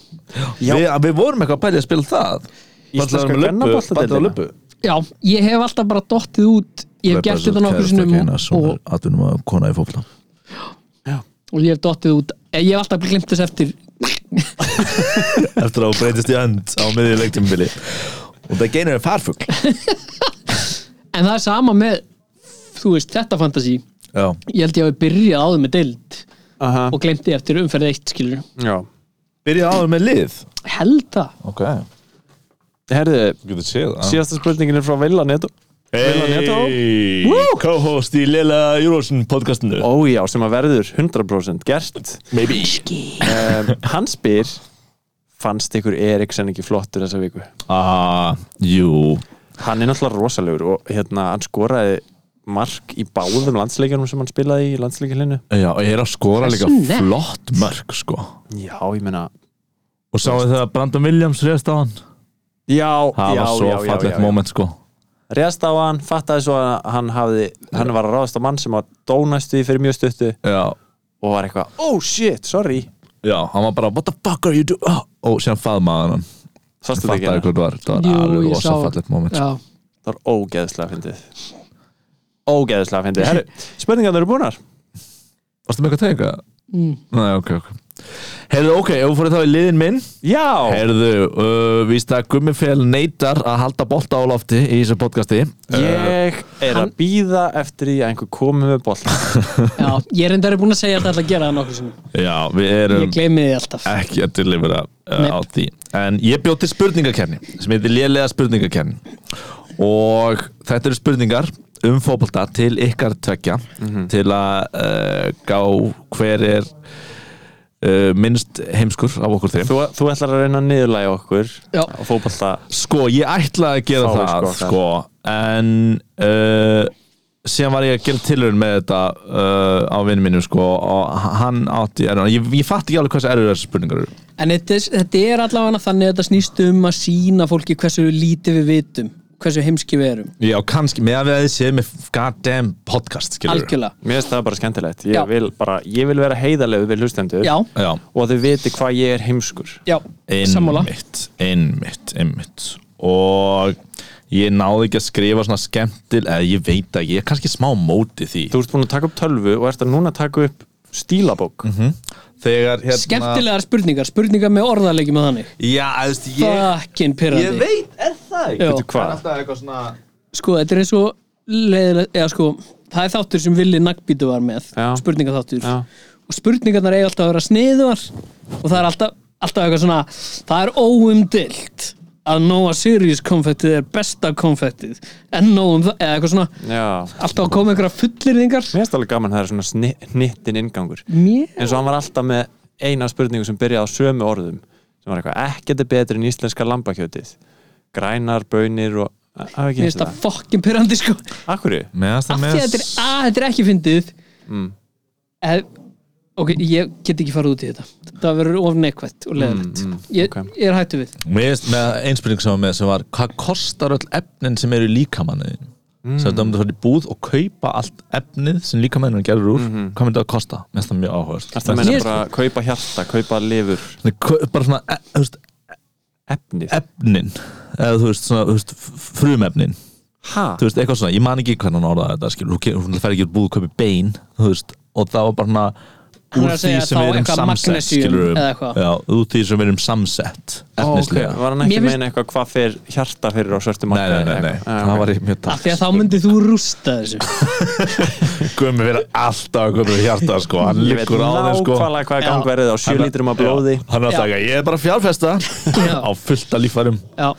C: Já.
B: við, við vorum eitthvað að pælja að spila það
C: Íslenska
B: Ballaðum með Lubbu,
C: kvennaboltadeildina.
B: ballaðum með Lubbu.
D: já, ég hef alltaf bara dottið út ég hef gert þetta nokkur sinnum og,
B: Atunum að kona í fólkna
D: og ég hef dottið út Eh, ég hef alltaf glimt þess eftir
B: Eftir að hún breytist í önd á miðju leiktímbili Og það geinar er farfugl
D: en það er sama með þú veist, þetta fantasi
B: Já,
D: ég held ég hafi byrjað áður með deild
C: aha,
D: og glemti eftir umferð eitt skilur
C: já
B: byrja áður með lið
D: held það
B: Ok,
C: herðu,
B: getur séð það
C: síðasta spurningin er frá Villa Neto
B: Hey, co-host í Lila Júrósson podcastinu
C: Ó já, sem að verður 100% gert
B: Maybe
C: um, Hann spyr Fannst ykkur Eriksen ekki flottur þessa viku?
B: Ah, jú
C: Hann er náttúrulega rosalegur og hérna, hann skoraði mark í báðum landsleikjunum sem hann spilaði í landsleikjulinu
B: Já, og ég er að skora líka
D: Hversu nett?
B: flott mörg sko
C: Já, ég meina
B: Og sáum þegar Brandon Williams reyðst á hann
C: Já,
B: Það
C: já,
B: var svo
C: já, já, já,
B: fallegt
C: já.
B: moment sko
C: Réðst á hann, fattaði svo að hann hafði hann var að ráðast á mann sem var dónæstu í fyrir mjög stuttu
B: Já,
C: og var eitthvað, oh shit, sorry
B: já, hann var bara What the fuck are you doing? Oh, og síðan faðmaðan hann
C: Sástu þetta
B: Fattaði
C: ekki?
B: hvað þetta var Það
C: hérna? hana?
D: Jú,
B: var alveg
D: ég
B: rosa
D: sá-
B: fallegt moment sko.
D: já.
C: Það var ógeðslega fyndið Ógeðslega fyndið Herru, spurningarnar eru búnar
B: Varstu með eitthvað að tega? Mm. Nei, ok, ok Heyrðu, ok, ef við fórum þá í liðin minn
C: Já,
B: Heyrðu, uh, víst að Gummifel neytar að halda bolta á lofti í þessu podcasti
C: ég er
D: Hann-
C: að býða eftir því að einhver komi með boll
D: Já, ég er reyndar búin að segja að það ætla að gera það nokkur sem
B: Já, við
D: Ég
B: erum
D: gleymi því alltaf
B: ekki að tilifera uh,
D: Nei.
B: á því En ég bjóti spurningakerni sem heitir lélega spurningakerni og þetta eru spurningar um fótbolta til ykkar tvekja til að uh, gá hver er uh, minnst heimskur af okkur þeim
C: þú, þú ætlar að reyna að niðurlæga okkur
D: Já.
C: og fótbolta
B: Sko, ég ætlaði að gera
C: Fáir
B: það
C: skokkar.
B: sko, en uh, síðan var ég að gera tilhörun með þetta uh, á vinnum mínum sko, og hann átti erfiðan. ég, ég fatt ekki alveg hversu erfur þessu spurningar eru
D: En þetta, er- þetta er allavega þannig að þetta snýst um að sína fólki hversu lítið við vitum Hversu heimski við erum
B: Já, kannski, með að við að þið séð með goddamn podcast, skilur
D: Algjörlega
C: Mér finnst það bara skemmtilegt Ég,
D: Já.
C: vil, bara, ég vil vera heiðarlegu við hlustendur
D: Já,
B: Já,
C: og þau viti hvað ég er heimskur
D: já, sammála
B: einmitt, einmitt, einmitt og ég náði ekki að skrifa svona skemmtil eða ég veit ekki, ég er kannski smá á móti því
C: Þú ert búin að taka upp tölvu og ert að núna taka upp stílabók
B: Mhm. Þegar hérna
D: Skemmtilegar spurningar, spurningar með orðarleiki með þannig
B: Já, þú veist, ég,
D: Fucking
B: ég
D: pyrrandi
B: veit, er það ekki?
D: Já.
C: Veitu
B: Það er
C: hvað?
B: alltaf eitthvað svona
D: Sko, þetta er eins og leiðilegt, eða sko Það er þáttur sem Vili Nagbítu var með
C: Já.
D: Spurningaþáttur
C: Já.
D: Og spurningarnar eiga alltaf að vera sniðuar Og það er alltaf, alltaf eitthvað svona Það er óumdilt að Nóa Sirius konfektið er besta konfektið En nóum það, eða eitthvað svona
C: Já
D: alltaf að koma einhverja fullirðingar
C: Mér finnst alveg gaman að það er svona sni- hnittin ingangur
D: mér
C: eins og hann var alltaf með eina spurningu sem byrjaði á sömu orðum sem var eitthvað, ekkert er betur en íslenska lambakjötið grænar, bönir og hafa ekki
D: finnst
C: hitt
D: það
C: það
D: fokkin pyrrandi sko af
C: Akkurju?
B: Meðan það
D: því að þetta er, að, þetta er ekki fyndið ef, ok, ég get ekki farið út í þetta það verður of neikvætt og leðilegt ég,
C: ok.
D: ég er hættu við
B: Mér finnst með einn spurning sem var með sem var hvað kostar öll efnin sem eru í líkamanniðin mm. sem þetta myndi að fara í búð og kaupa allt efnið sem líkamanniðin gerur úr hvað myndi það að kosta? Mér finnst það mjög áhörst
C: Það
D: Mér
C: meina
D: finnst-
C: bara að kaupa hjarta, kaupa lifur
B: bara svona e, þú veist,
C: efnið
B: efnin eða þú veist, svona, þú veist f- frumefnin
C: Ha?
B: þú veist, eitthvað svona, ég man ekki hvernig hann orðaði þetta skilur, hún ke- hún fer ekki úr búð og kaupi bein þú veist, og það var bara svona
D: Hann
B: úr
D: er að
B: því
D: segja
B: sem
D: þá
B: við erum
D: eitthvað
B: samsett
D: magnesium
B: skilur
D: eða eitthvað.
B: já, úr því sem við erum samsett
C: Ó, ok,
B: efnislega
C: var hann ekki
D: Mér
C: að
D: finnst-
C: meina eitthvað hvað fer hjarta fyrir á svörtu
B: Nei, nei,
C: markaði?
B: nei, nei, það var ekki mjög
D: af því að þá myndið þú rústa þessu
B: Gummi fyrir alltaf að koma í hjarta sko. hann
C: Ég veit
B: liggur á þeim sko.
C: nákvæmlega hvað
D: Já.
C: gangverðið á
B: Hann er-
C: 7 lítrum af blóði
B: Já, hann er alltaf
D: Já.
B: ekki, ég er bara að fjárfesta
D: Já.
B: á fullt af lífærum
D: já,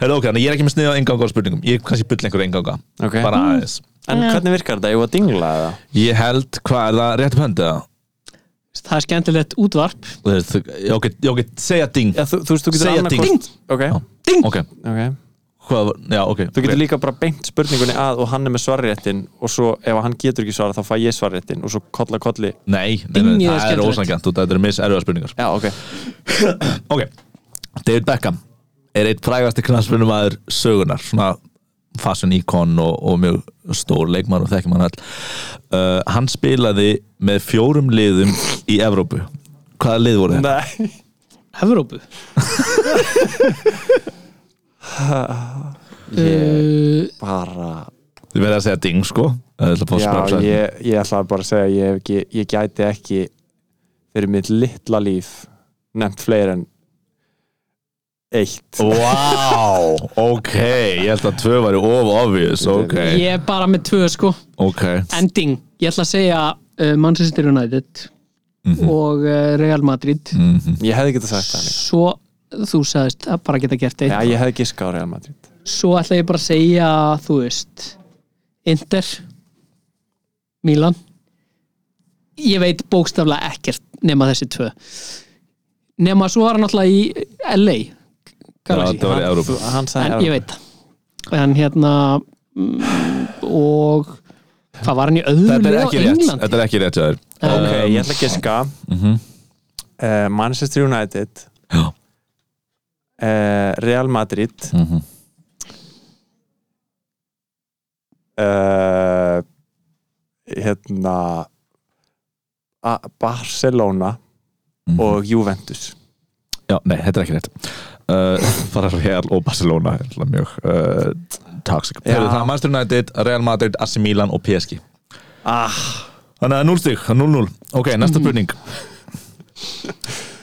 B: Heru, okay, þannig ég er ekki með sniða enganga á spurningum ég kannski byll einhverja enganga
C: Ok.
B: bara aðeins
C: En hvernig virkar þetta? Ég var að dingla eða?
B: ég held, hvað er það, rétt upp höndið
D: það er skemmtilegt útvarp
B: Þú veist, ég ok, ég ok, segja ding
C: Já, þú, þú veist, þú getur
B: Segja
C: annarkvort-
B: ding.
C: Ok,
D: ding,
B: ok,
C: ok
B: hvað var, já ok
C: Þú getur líka bara beint spurningunni að og hann er með svarréttin og svo ef hann getur ekki svarað þá fæ ég svarréttin og svo kolla kolli
B: Nei, nei, nei,
D: Dingið er
B: það er
D: skemmtilegt.
B: ósangjant og þetta eru mis erfiða spurningar
C: Já, ok
B: Ok, David Beckham er eitt frægasti knarspunumæður sögunar svona fashion íkon og, og mjög stór leikmann og þekkjum hann all uh, Hann spilaði með fjórum liðum í Evrópu Hvaða lið voru þetta?
C: Nei
D: Evrópu
C: Ég
D: uh,
C: bara
B: Þið verða að segja ding sko Það er að fá að spara
C: Já,
B: sæti.
C: ég, ég ætlaði bara að segja að ég, hef ekki, ég gæti ekki fyrir mitt litla líf nefnt fleiri en eitt
B: Vá, ok Ég held að tvö væri of obvious Ok,
D: ég er bara með tvö sko
B: ok
D: ending, ég ætla að segja uh, Manchester United
B: Mhm.
D: og uh, Real Madrid
C: Ég hefði getað sagt það líka
D: svo þú sagðist að bara geta gert eitt
C: Já, ég hefði giskað á Real Madrid
D: svo ætla ég bara að segja þú veist Inter Milan ég veit bókstaflega ekkert nema þessi tvö nema svo var hann alltaf í LA
B: Já,
D: Galaxy
B: það var í Evrópu.
C: Þú- Hann sagði
D: en
C: Evrópu.
D: ég veit það en hérna mm, og hvað var hann í öðru
B: Þetta er
D: liði á
B: ekki rétt,
D: Englandi?
B: þetta er ekki rétt hjá þér Mhm,
C: Ok, ég ætla að giska uh, Manchester United
B: Já.
C: uh, Real Madrid
B: mm -hmm.
C: uh, hérna A- Barcelona og Juventus
B: mhm. Já, nei, þetta er ekki rétt uh, bara Real og Barcelona er alltaf mjög uh, toxic
C: Já.
B: Þegar það er Manchester United, Real Madrid, AC Milan og PSG
C: ah, Mm.
B: Þannig að 0 stig, 0-0 Ok, næsta spurning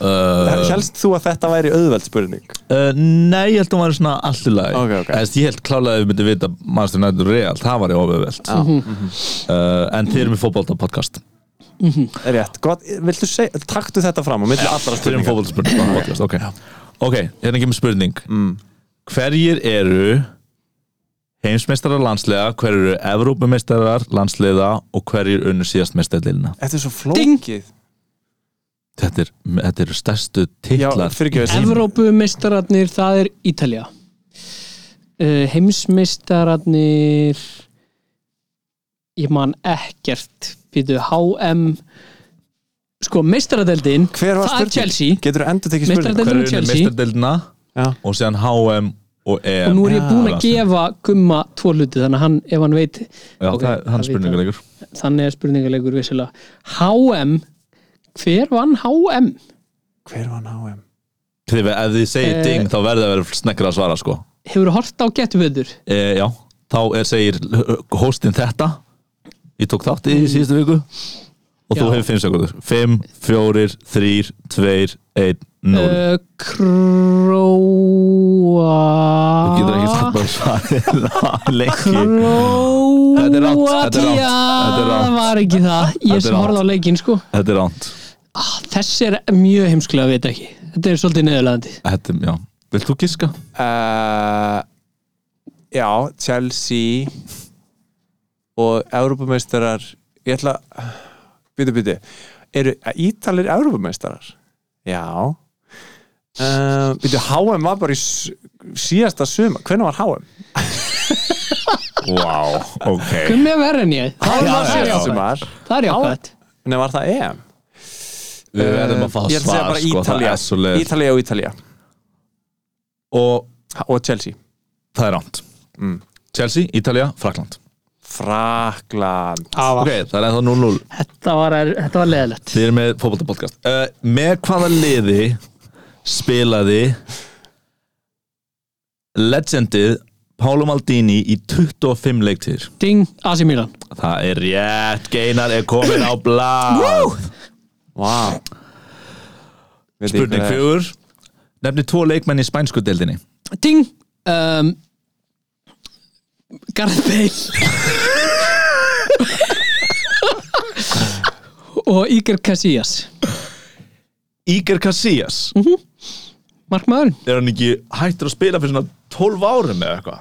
B: uh,
C: Hélst þú að þetta væri auðveld spurning?
B: Uh, nei, ég held að hún var svona allt í lagi
C: Ok, ok.
B: Þess, Ég held klálega að við myndum vita Manchester United Real, það var í ofiðveld
C: Já.
D: Mhm.
B: uh, En þið erum í fótbolta podcast
C: Rétt, gott, viltu segja, taktu þetta fram og myndi allra
B: Þið erum í
C: spurningar
B: fótbolta spurning podcast Ok, ok, hérna kemur spurning
C: Mm.
B: Hverjir eru heimsmeistarar landslega Hverjir eru Evrópumeistarar landslega Og hverjir unnu síðast meistarlilina
C: Þetta er svo flókið
B: þetta, er, þetta eru stærstu titlar
C: fyrirgefðu.
B: í heimi.
D: Evrópumeistararnir, það er Ítalja uh, Heimsmeistararnir Ég man ekkert Býtu HM Sko, meistaradeldin
C: Hver var
D: Það er
C: spurning?
D: Chelsea
C: Getur þú endur tekið
D: Meistaradeildin-
C: spurning?
B: Hverjir
D: Chelsea.
B: unnu meistarlilina
C: Já.
B: Og síðan HM og EM
D: og nú er ég búin
B: Já,
D: að gefa gumma tvo hluti þannig að hann, ef hann veit
B: Já,
D: Ok,
B: það er
D: það
B: hans
D: vita.
B: spurningulegur
D: þannig er spurningaleikur vissilega HM, hver vann HM?
C: Hver var hann HM?
B: Þegar ef þið segir
D: Eh,
B: ding þá verður það að vera snekkar að svara sko
D: Hefur hort á getuveður?
B: e, Já, þá er, segir hóstinn þetta Ég tók þátt
C: Mm.
B: í síðustu viku Og þú
D: Já.
B: hefur fimm sekundur Fimm, fjórir, þrýr, tveir, einn, núl
C: Eh,
D: Uh, Króa
B: Þú getur
C: ah.
B: ekki sagt bara svarið lengi Þetta er rátt, þetta er rátt,
D: Króatía
B: þetta er rátt.
D: Það var ekki það
B: Þetta er
D: Ég sem horfði á leikinn sko
B: Þetta er ránt
D: ah, Þessi er mjög heimskulega að vita ekki Þetta er svolítið neðurlegandi
B: Þetta, er- já Vilt þú giska?
C: Uh, já, Chelsea og Evrópumeistarar ég ætla byrju, byrju, eru eh, Ítalir Evrópumeistarar? Já uh, byrju, HM var bara í s- síðasta suma hvernig var HM?
B: Vá, ok
D: Gummi er verri en ég
C: HM var
B: já,
C: síðasta
B: já.
C: sumar
D: Það er jákvæmt
C: Nei, var það EM?
B: Við verðum að fá
C: Ég ætla að segja
B: svar
C: bara
B: sko Það
C: Ítalía.
B: er svo leið
C: Ítalía og Ítalía
B: Og
C: og Chelsea
B: það er ránt
C: Mm.
B: Chelsea, Ítalja, Frakland
C: Frakland
B: Ok, það er ennþá 0-0
D: Þetta var, þetta var leðilegt
B: Þið eru með fótboltapodcast uh, Með hvaða liði spilaði legendið Paolo Maldini í 25 leiktir
D: Ding, AC Milan
B: Það er rétt, Geinar er komin á blá
C: Vá Veit ég
B: Spurning
C: hvað það er.
B: fjögur Nefni tvo leikmenn í spænsku deildinni
D: Ding um, Gareth Bale Og Iker Casillas
B: Iker Casillas
D: Mhm. Markmaðurinn,
B: Er hann ekki hættur að spila fyrir svona 12 árum eða eitthvað?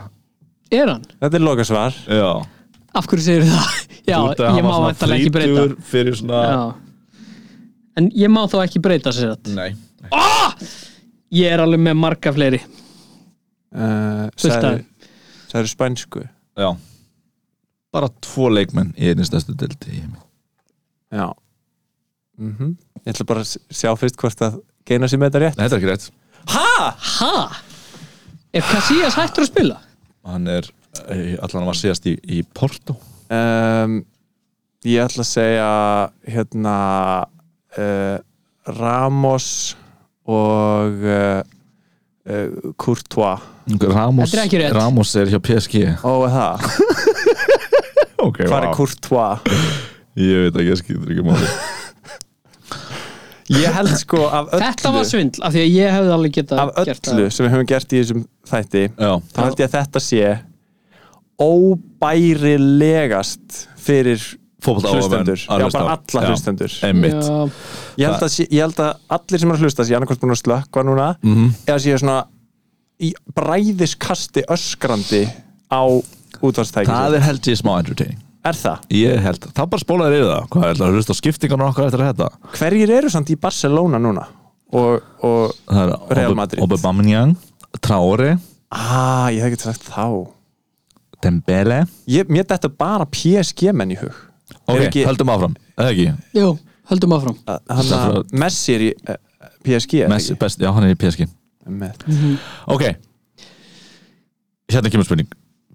D: er hann?
C: Þetta er lokasvar
B: Já,
D: Af hverju segir það? Já,
B: Út af að hann
D: ég má
B: var svona
D: þetta ekki breyta
B: 30 Fyrir svona
D: Já. En ég má þá ekki breyta sér þetta
B: Nei
D: Ég er alveg með marga fleiri
C: uh,
D: Fullt af
C: Það eru spænsku
B: Já Bara tvo leikmenn í einnig stærstu deildi í heimi
C: Já Mhm. Ég ætla bara að s- sjá fyrst hvort að geina sér með þetta rétt
B: Nei, þetta er ekki rétt
C: Ha?
D: Ha? Er Casillas hættur að spila?
B: hann er eh, allan hann var síðast í, í Porto
C: Um, ég ætla að segja hérna uh, Ramos og uh, uh, Courtois
B: Ramos,
D: Þetta er ekki rétt.
B: Ramos er hjá PSG
C: Ó, er það,
B: okay,
C: hvað er Courtois?
B: ég veit ekki, ég skilur ekki máli
C: Ég held sko af
D: Þetta var
C: öllu
D: svindl, af því að ég hefði alveg getað
C: af
D: gert
C: öllu sem við höfum gert í þessum þætti
B: já,
C: þá held ég að þetta sé óbærilegast fyrir
B: fótboll
C: hlustendur já, bara alla hlustendur
B: einmitt,
D: Já,
C: ég held, að, sé- ég held að allir sem er að hlusta sé annarkvæmst búin að slökka núna
B: Mhm.
C: eða séu svona í bræðiskasti öskrandi á útvarstæki
B: það er held ég smá entertaining
C: er það?
B: ég held, það bara spólaður yfir það hvað er það, hlusta á skiptingarnar okkar eftir þetta
C: Hverjir eru samt í Barcelona núna? og, og
B: það er
C: Real
B: Aube-
C: Madrid.
B: Aubameyang, Traore
C: ah, ég hef ekki sagt þá
B: Dembele
C: ég, mér þetta bara PSG menn í hug
B: ok,
C: Er ekki-
B: höldum áfram, eða ekki
D: Jú, höldum áfram
C: Að- hann að
B: Stafford.
C: Messi er í eh, PSG er það
B: Messi,
C: ekki?
B: best, já, hann er í PSG
C: Einmitt.
B: Ok Hérna kemur spurning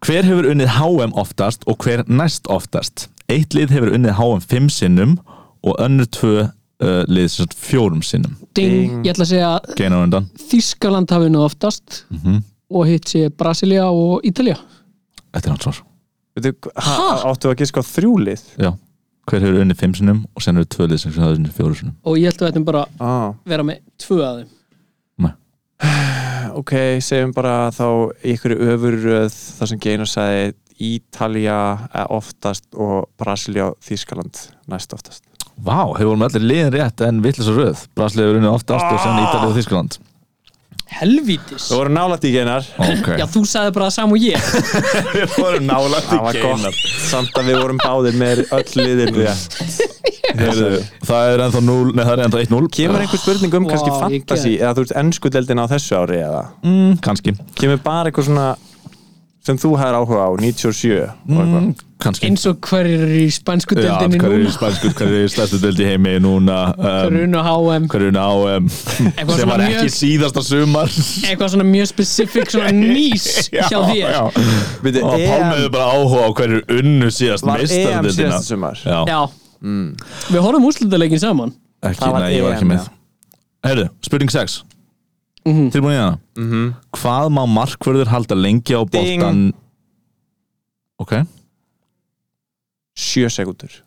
B: Hver hefur unnið HM oftast og hver næst oftast? Eitt lið hefur unnið HM fimm sinnum og önnur tvö uh, lið sem sagt fjórum sinnum
D: Ding,
C: Ding.
D: ég ætla að segja að
B: Gein á undan
D: Þískaland hafi nú oftast
B: Mhm.
D: og hitt sé Brasilia og Ítalja
B: Þetta er hans svar
C: Veitu,
D: Ha?
C: ha, áttu að giska á þrjúlið
B: Já hver hefur unnið fimm sinnum og sen eru tvö lið sem hafa unnið fjóru sinnum
D: og ég held að við ættum bara
C: ah,
D: að vera með tvö að þeim
C: ok, segjum bara þá í ykkur öfurröð þar sem Geinar sagði Ítalja eh, oftast og Brasilia Þískaland næst oftast
B: Vá, þau vorum allir liðin rétt en vittlis og röð Braslið hefur unnið oftast og sen Ítalið og Þískland
D: helvítis
C: Þú voru nálætt í Geinar
B: Ok,
D: já þú sagði bara það sama og ég
B: við vorum nálægt
C: Það var gott, samt að við vorum báðir með öll liðin
B: Heyrðu, Það er ennþá 0, nei það er ennþá 1-0
C: Kemur einhver spurning um kannski
D: Vá, ég
C: fantasy eða þú veist ennskudeldin á þessu ári eða
B: Mm, kannski
C: Kemur bara eitthvað svona sem þú hefur áhuga á, 97 og eitthvað
B: mm, Kannski
D: eins og hverjir eru í spænsku
B: Já,
D: deildinni
B: Hver er í
D: núna
B: spænsku, hver er í stærstu döldi heimi núna
D: Þeir eru
B: um,
D: inn á HM
B: Hver er ná um, sem
D: svona
B: var ekki
D: mjög-
B: síðasta sumar
D: eitthvað svona mjög specifík svona nýs hjá þér
B: já.
C: Byrju,
B: Og
C: EM
B: Pálmiður bara áhuga á hverju unnu síðast
C: E Var EM
B: meistaradeildina.
C: síðasta sumar?
B: Já,
D: Já
C: Mm.
D: Við horfum úrslutaleikin saman
B: ekki,
C: Það var
B: nei, ég var
C: EM,
B: ekki með
C: já.
B: Heyrðu, spurning 6 Tilbúin í hana
C: Mhm.
B: Hvað má markvörður halda lengi á
C: Ding.
B: boltan Ok,
C: 7 sekundur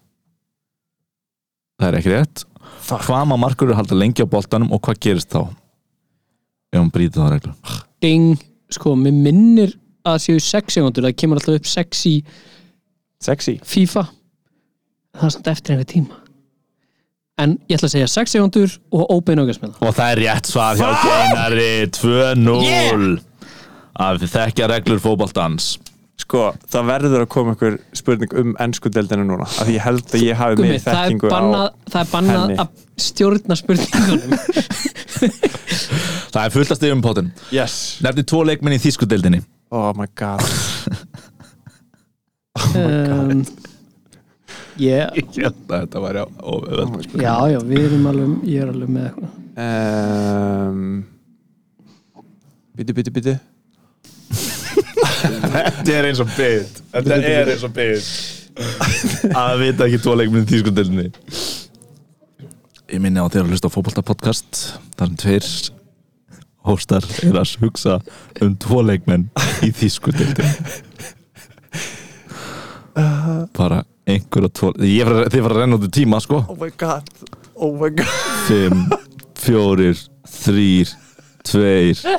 B: það er ekki rétt Hvað má markvörður halda lengi á boltanum og hvað gerist þá? Ef hún brýtir það reglu
D: Ding Sko, mér minnir að séu 6 sekundur Það kemur alltaf upp 6 í
C: Sexy
D: FIFA Það er samt eftir einhver tíma En ég ætla að segja 6 sekundur og óbein ágæðsmjöla
B: Og það er rétt svar hjá Geinari 2-0
D: Yeah.
B: Að við þekkja reglur fótboltans
C: Sko, það verður að koma einhver spurning um ennskudeldina núna af því ég held að ég hafi
D: Gummi,
C: meiri
D: það er
C: þekkingu
D: bannað,
C: á
D: það er bannað
C: henni.
D: að stjórna spurningunum
B: Það er fullast yfir um potin
C: Yes
B: Nefnir tvo leikmenn í þýskudeldinni
C: Oh my god Oh
D: um, ég,
B: Þetta var já óvöld
D: Já, já, við erum alveg Ég er alveg með eitthvað
C: um, Byrju, byrju, byrju
B: Þetta er eins og byggd Þetta er eins og byggd Að vita ekki tvo leikminn í tískundelinni Ég minni á þér að hlusta á fótboltapodcast Þar sem tveir hóstar er að hugsa um tvo leikmenn í þýskudeldinni bara einhverja tvo ég fara, þið fara að renna út í tíma sko
C: Oh my god Oh my god
B: 5, 4, 3 2,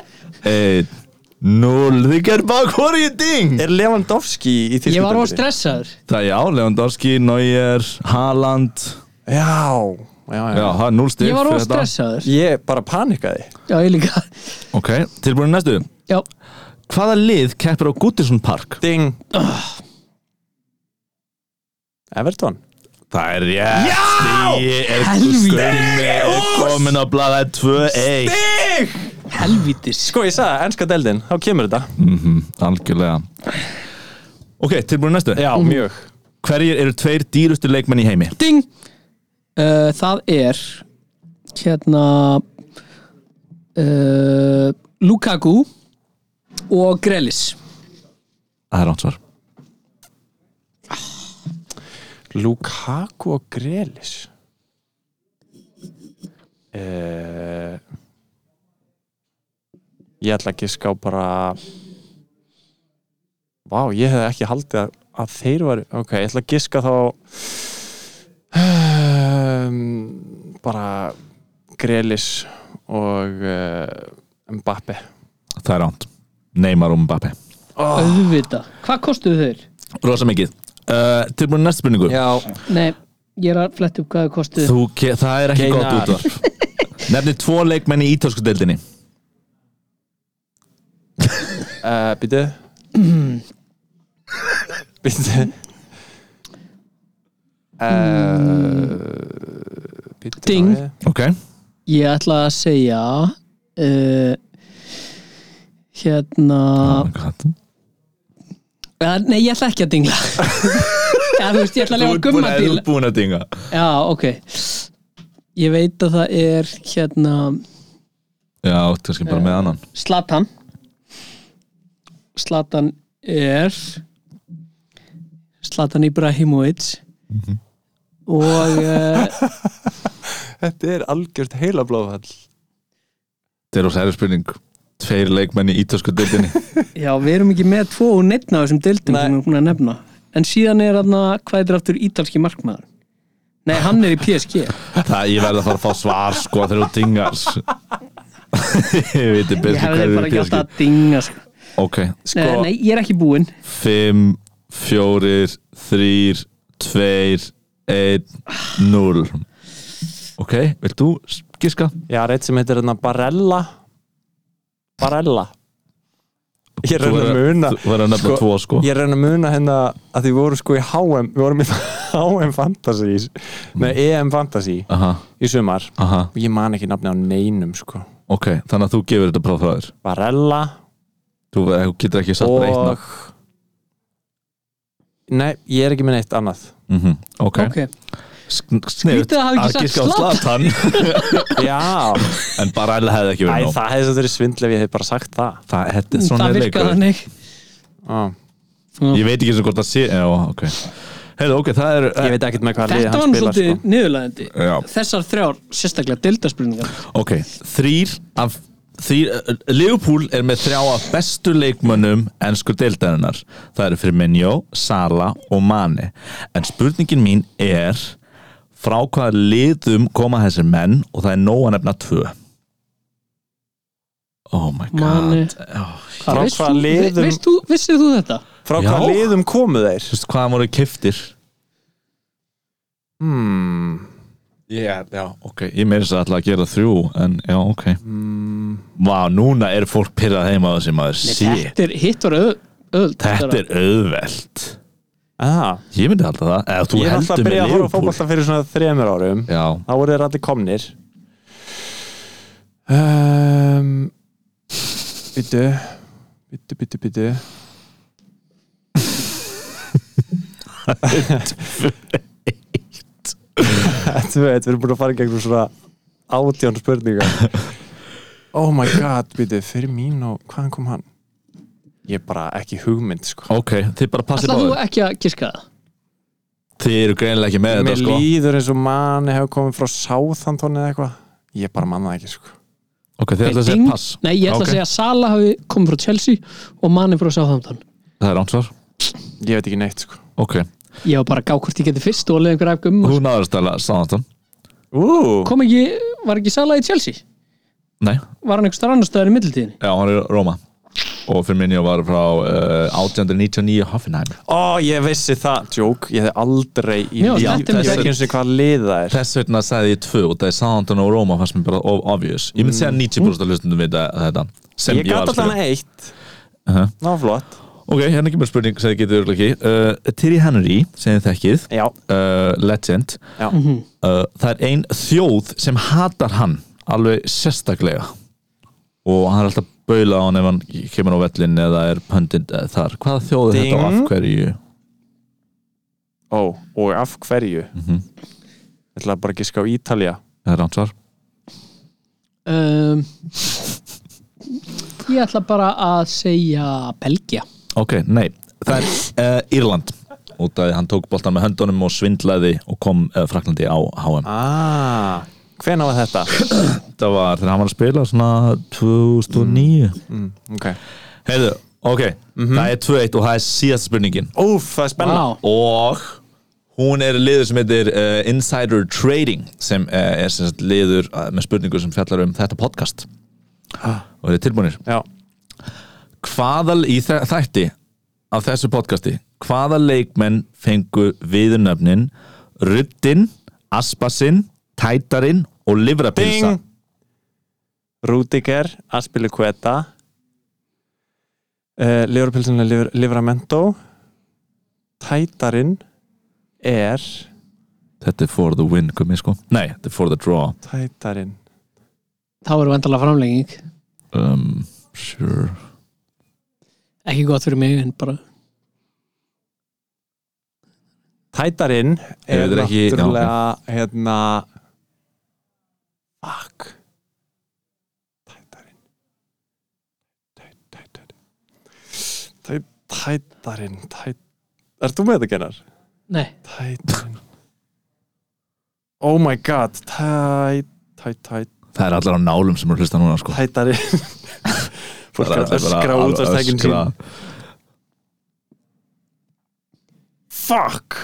B: 1 0, þið gerir bara hvorið ding
C: Er Lewandowski í Þýskalandi?
D: Ég var á stressaður
B: Það er já, Lewandowski, Neuer, Haaland
C: Já, já, já,
B: Já, það er 0 stig
D: Ég var á
B: fyrir þetta.
D: stressaður
C: Ég bara panikaði
D: Já, ég líka
B: Ok, tilbúin í næstu
D: Já,
B: Hvaða lið keppir á Goodison Park?
C: Ding Everton
B: Það er rétt Já, stigi er
D: Helvíti.
B: Gummi er komin á blaða 2-1
C: Ding
D: helvítis
C: Sko ég sagði, það, enska deldin, þá kemur þetta
B: Mhm, Algjörlega Ok, tilbúin í næstu
C: Já,
D: Mhm.
C: mjög
B: Hverjir eru tveir dýrustu leikmenn í heimi?
D: Ding uh, Það er hérna uh, Lukaku og Grelis
B: Það er ánsvar
C: Lukaku og Grelis uh, Ég ætla ekki ská bara Vá, ég hefði ekki haldið að, að þeir var Ok, ég ætla að giska þá um, Bara Grelis og uh, Mbappe
B: Það er ánd Neymar og Mbappe Ah.
D: Auðvita, hvað kostuðu þeir?
B: Rosa mikið uh, Tilbúin í næstu spurningu
C: Já,
D: Nei, ég er að fletta upp hvað þau kostuðu
B: Þú, ke- það er ekki
C: Geinar.
B: gott útvarp Nefni tvo leikmenn í ítölsku deildinni
C: uh, býtu Býtu Eh, Býtu
D: Ding.
B: Ok
D: Ég ætla að segja uh, hérna
B: oh my God.
D: eða, Nei, ég ætla ekki að dingla Já, þú veist, ég ætla að lefa gumma
B: Þú
D: til
B: ert búin að dinga
D: Já, ok Ég veit að það er hérna
B: Já, þú ert kannski bara með annan
D: Slatan Slatan er Slatan Ibrahimovic
C: Mhm.
D: og uh,
C: Þetta er algjört heila blóðhall
B: Þetta er á særi spurning Tveir leikmenn í ítölsku deildinni
D: já, við erum ekki með tvo og neittna á þessum deildum
C: Nei.
D: sem við erum búin að nefna en síðan er þarna, hvað er aftur ítalski markmaður Nei, hann er í PSG
B: Það ég verði að fara að fá svar sko þegar þú dingar Ég veit ekki
D: Ég
B: betur
D: hefði
B: hverju
D: bara ekki
B: við
D: átt
B: þér
D: að dinga sko.
B: Ok,
D: nei,
C: Sko-
D: nei, ég er ekki búinn
B: 5, 4, 3, 2, 1, 0 Ok, vilt þú giska?
C: Já, reitt sem heitir hérna Barella Barella Ég er
B: Þú
C: að reyna að
B: verður-
C: muna
B: Þú verður að nefna
C: Sko,
B: tvo sko
C: Ég er að reyna að muna hérna að því við vorum sko í HM við vorum í HM Fantasy nei, EM Fantasy
B: Aha,
C: í sumar
B: aha,
C: og ég man ekki nafni á neinum sko
B: ok Þannig að þú gefur þetta próf frá þér
C: Barella
B: Þú þú getur ekki satt bara eitt
C: og
B: nafn
C: Nei, ég er ekki með neitt annað
B: Mhm, Ok,
D: Ok,
B: sniðut
D: Skrýtið að hafa ekki sagt
B: giska á Zlatan
C: Já,
B: En bara ætla hefði ekki
C: Æ,
B: verið nóg
C: það hefði svo verið svindl ef ég hef bara sagt það Ah,
B: Það, þetta er svona
D: það
B: leikur
D: virkaði þannig
C: Ó,
B: Ég veit ekki eins og hvort það sé Já, ok Heiðu, ok, það er eh,
C: Ég veit ekkert með hvað lið
D: Þetta var
C: hann
D: nú
C: spilar
D: svolítið
C: sko.
D: sko. niðurlæðandi
B: Já.
D: Þessar þrjár, sérstaklega deildarspurningar
B: Ok, þrýr af þrýr, uh, Liverpool er með þrjá af bestu leikmönnum ennsku deildarinnar Það eru Firmino, Sala og Mane En spurningin mín er frá hvaða liðum koma þessir menn og það er nóg að nefna tvö Oh my god
D: Mane.
B: oh,
C: Frá
D: Veist
C: hvaða
D: þú-
C: liðum-
D: veist þú, Vissir þú þetta?
C: Frá
B: Já.
C: hvað liðum komu þeir?
B: Þú veist hvaðan voru kiftir
C: Hmm,
B: yeah, Já, ok, ég meiri þess að ætla að gera þrjú en já, ok Vá, núna er fólk pyrrað heima á þessi maður
D: Nei,
B: Shit.
D: Þetta er hitt var öð, öld
B: Þetta er auðvelt
C: aha.
B: Ég myndi halda það Eða þú
C: Ég er
B: heldur
C: alltaf að
B: með
C: byrja að horfa á
B: Liverpool
C: fótbolta fyrir svona þremur árum
B: Já,
C: Þá voru þeir allir komnir um, Byttu Byttu, byttu, byttu Þetta veit, við erum búin að fara í gegnum svona átján spurningar Oh my god, byttu, fyrir mín og hvaðan kom hann? Ég er bara ekki hugmynd sko
B: ok, þið bara passið
D: Ætlaðu þú
B: báður
D: ekki að giska það?
B: Þið eru greinilega ekki með þetta
C: Mér
B: sko
C: líður eins og manni hefur komið frá Southampton eða eitthvað Ég bara manna það ekki sko
B: Ok, þið ætlaðu að
D: Ding.
B: segja pass
D: Nei, ég ætla
B: Ok.
D: að segja að Sala hafi komið frá Chelsea og Mane frá Southampton
B: Það er ánsvar
C: Ég veit ekki neitt sko
B: Ok,
D: Ég var bara að gá hvort ég geti fyrst og alveg einhver afgum
B: þú náður að stæla Sáðansson
C: Ú,
D: Kom ekki, var ekki Sala í Chelsea?
B: Nei,
D: Var hann einhver starf annar stöðar í middiltíðinni?
B: já, hann er í Róma Og fyrir minni var frá uh, 1899 Hoffenheim
C: ó ég vissi það Jók, ég hef aldrei í
D: Já,
C: líf-
D: þetta
C: Ég
D: er
C: veit
D: mér
C: ekki eins og hvað lið það er
B: Þess vegna sagði ég tvö og það er Sáðansson og Róma fannst mér bara of obvious Ég myndi segja 90% að hlustundum við þetta sem
C: Mm. Ég
B: var
C: gæti
B: að
C: alltaf
B: skrifa.
C: hana eitt
B: Uh-huh.
C: Ná flott
B: Ok, hérna ekki mér spurning sem þið getur örugglega ekki uh, Thierry Henry, sem þið þekkið
C: Já,
B: uh, legend
C: já
B: uh, það er ein þjóð sem hatar hann alveg sérstaklega og hann er alltaf baula á hann ef hann kemur á vellin eða er pöndin þar hvaða þjóð er þetta og af
C: Ding.
B: hverju
C: Ó, og af hverju Ég
D: Mhm.
C: ætla bara að giska á Ítalja
B: það er ansvar Ehm,
D: Um, ég ætla bara að segja Belgia
B: ok, nei, það er uh, Írland út af því hann tók boltan með höndunum og svindlaði og kom uh, Fraklandi á HM
C: Ah, hvenær var þetta?
B: þetta var þegar hann var að spila svona 2009
C: Mm, ok
B: heiðu, ok, það er 2-1 og það er síðast spurningin
C: Úf, það er spenna
D: Vá.
B: og hún er liður sem heitir uh, Insider Trading sem uh, er sem sagt, liður uh, með spurningu sem fjallar um þetta podcast og þið er tilbúinir
C: Já,
B: hvaða í þe- þætti af þessu podcasti hvaða leikmenn fengu viðurnöfnin Ruddin, Aspasinn Tætarinn og Livrapilsa
C: ding Rúdiger, Aspiluqueta uh, Leorpilsin Livramento Tætarinn er
B: þetta er for the win komið sko nei, þetta er for the draw
C: Tætarinn
D: þá eru vendala framlenging
B: um, sure
D: ekki gott fyrir mig en bara
C: Tætarinn er
B: Ef þetta er ekki- já,
C: náttúrulega hérna Fuck Tætarinn Tæ- Tætarinn Tæ- Tætarinn Tæ- Ert þú með þetta gennar?
D: nei,
C: Tætarinn Oh my god Tæ Tæ, tæ,
B: það er allar á nálum sem eru að hlusta núna sko
C: tætarinn Fólk
B: Það
C: er að öskra út af stækin sín
B: öskra.
C: Fuck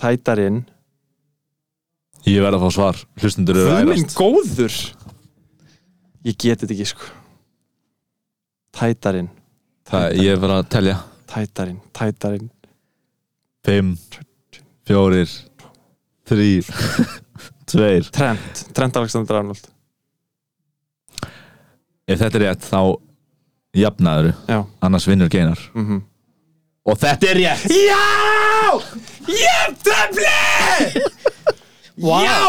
C: tætar inn
B: Ég verð að fá svar, hlustundur eru að
C: Guð minn
B: ærast
C: góður Ég get þetta ekki sko Tætarinn,
B: Það, Ég verð að telja
C: tætarinn, tætarinn
B: 5, 4 3 2
C: Trent, Trent Alexander Arnold
B: Ef þetta er rétt þá jafnaður
C: Já,
B: annars vinnur geinar
C: mhm
B: Og þetta er rétt
C: Já! Ég töfli!
D: Vá.
C: Já!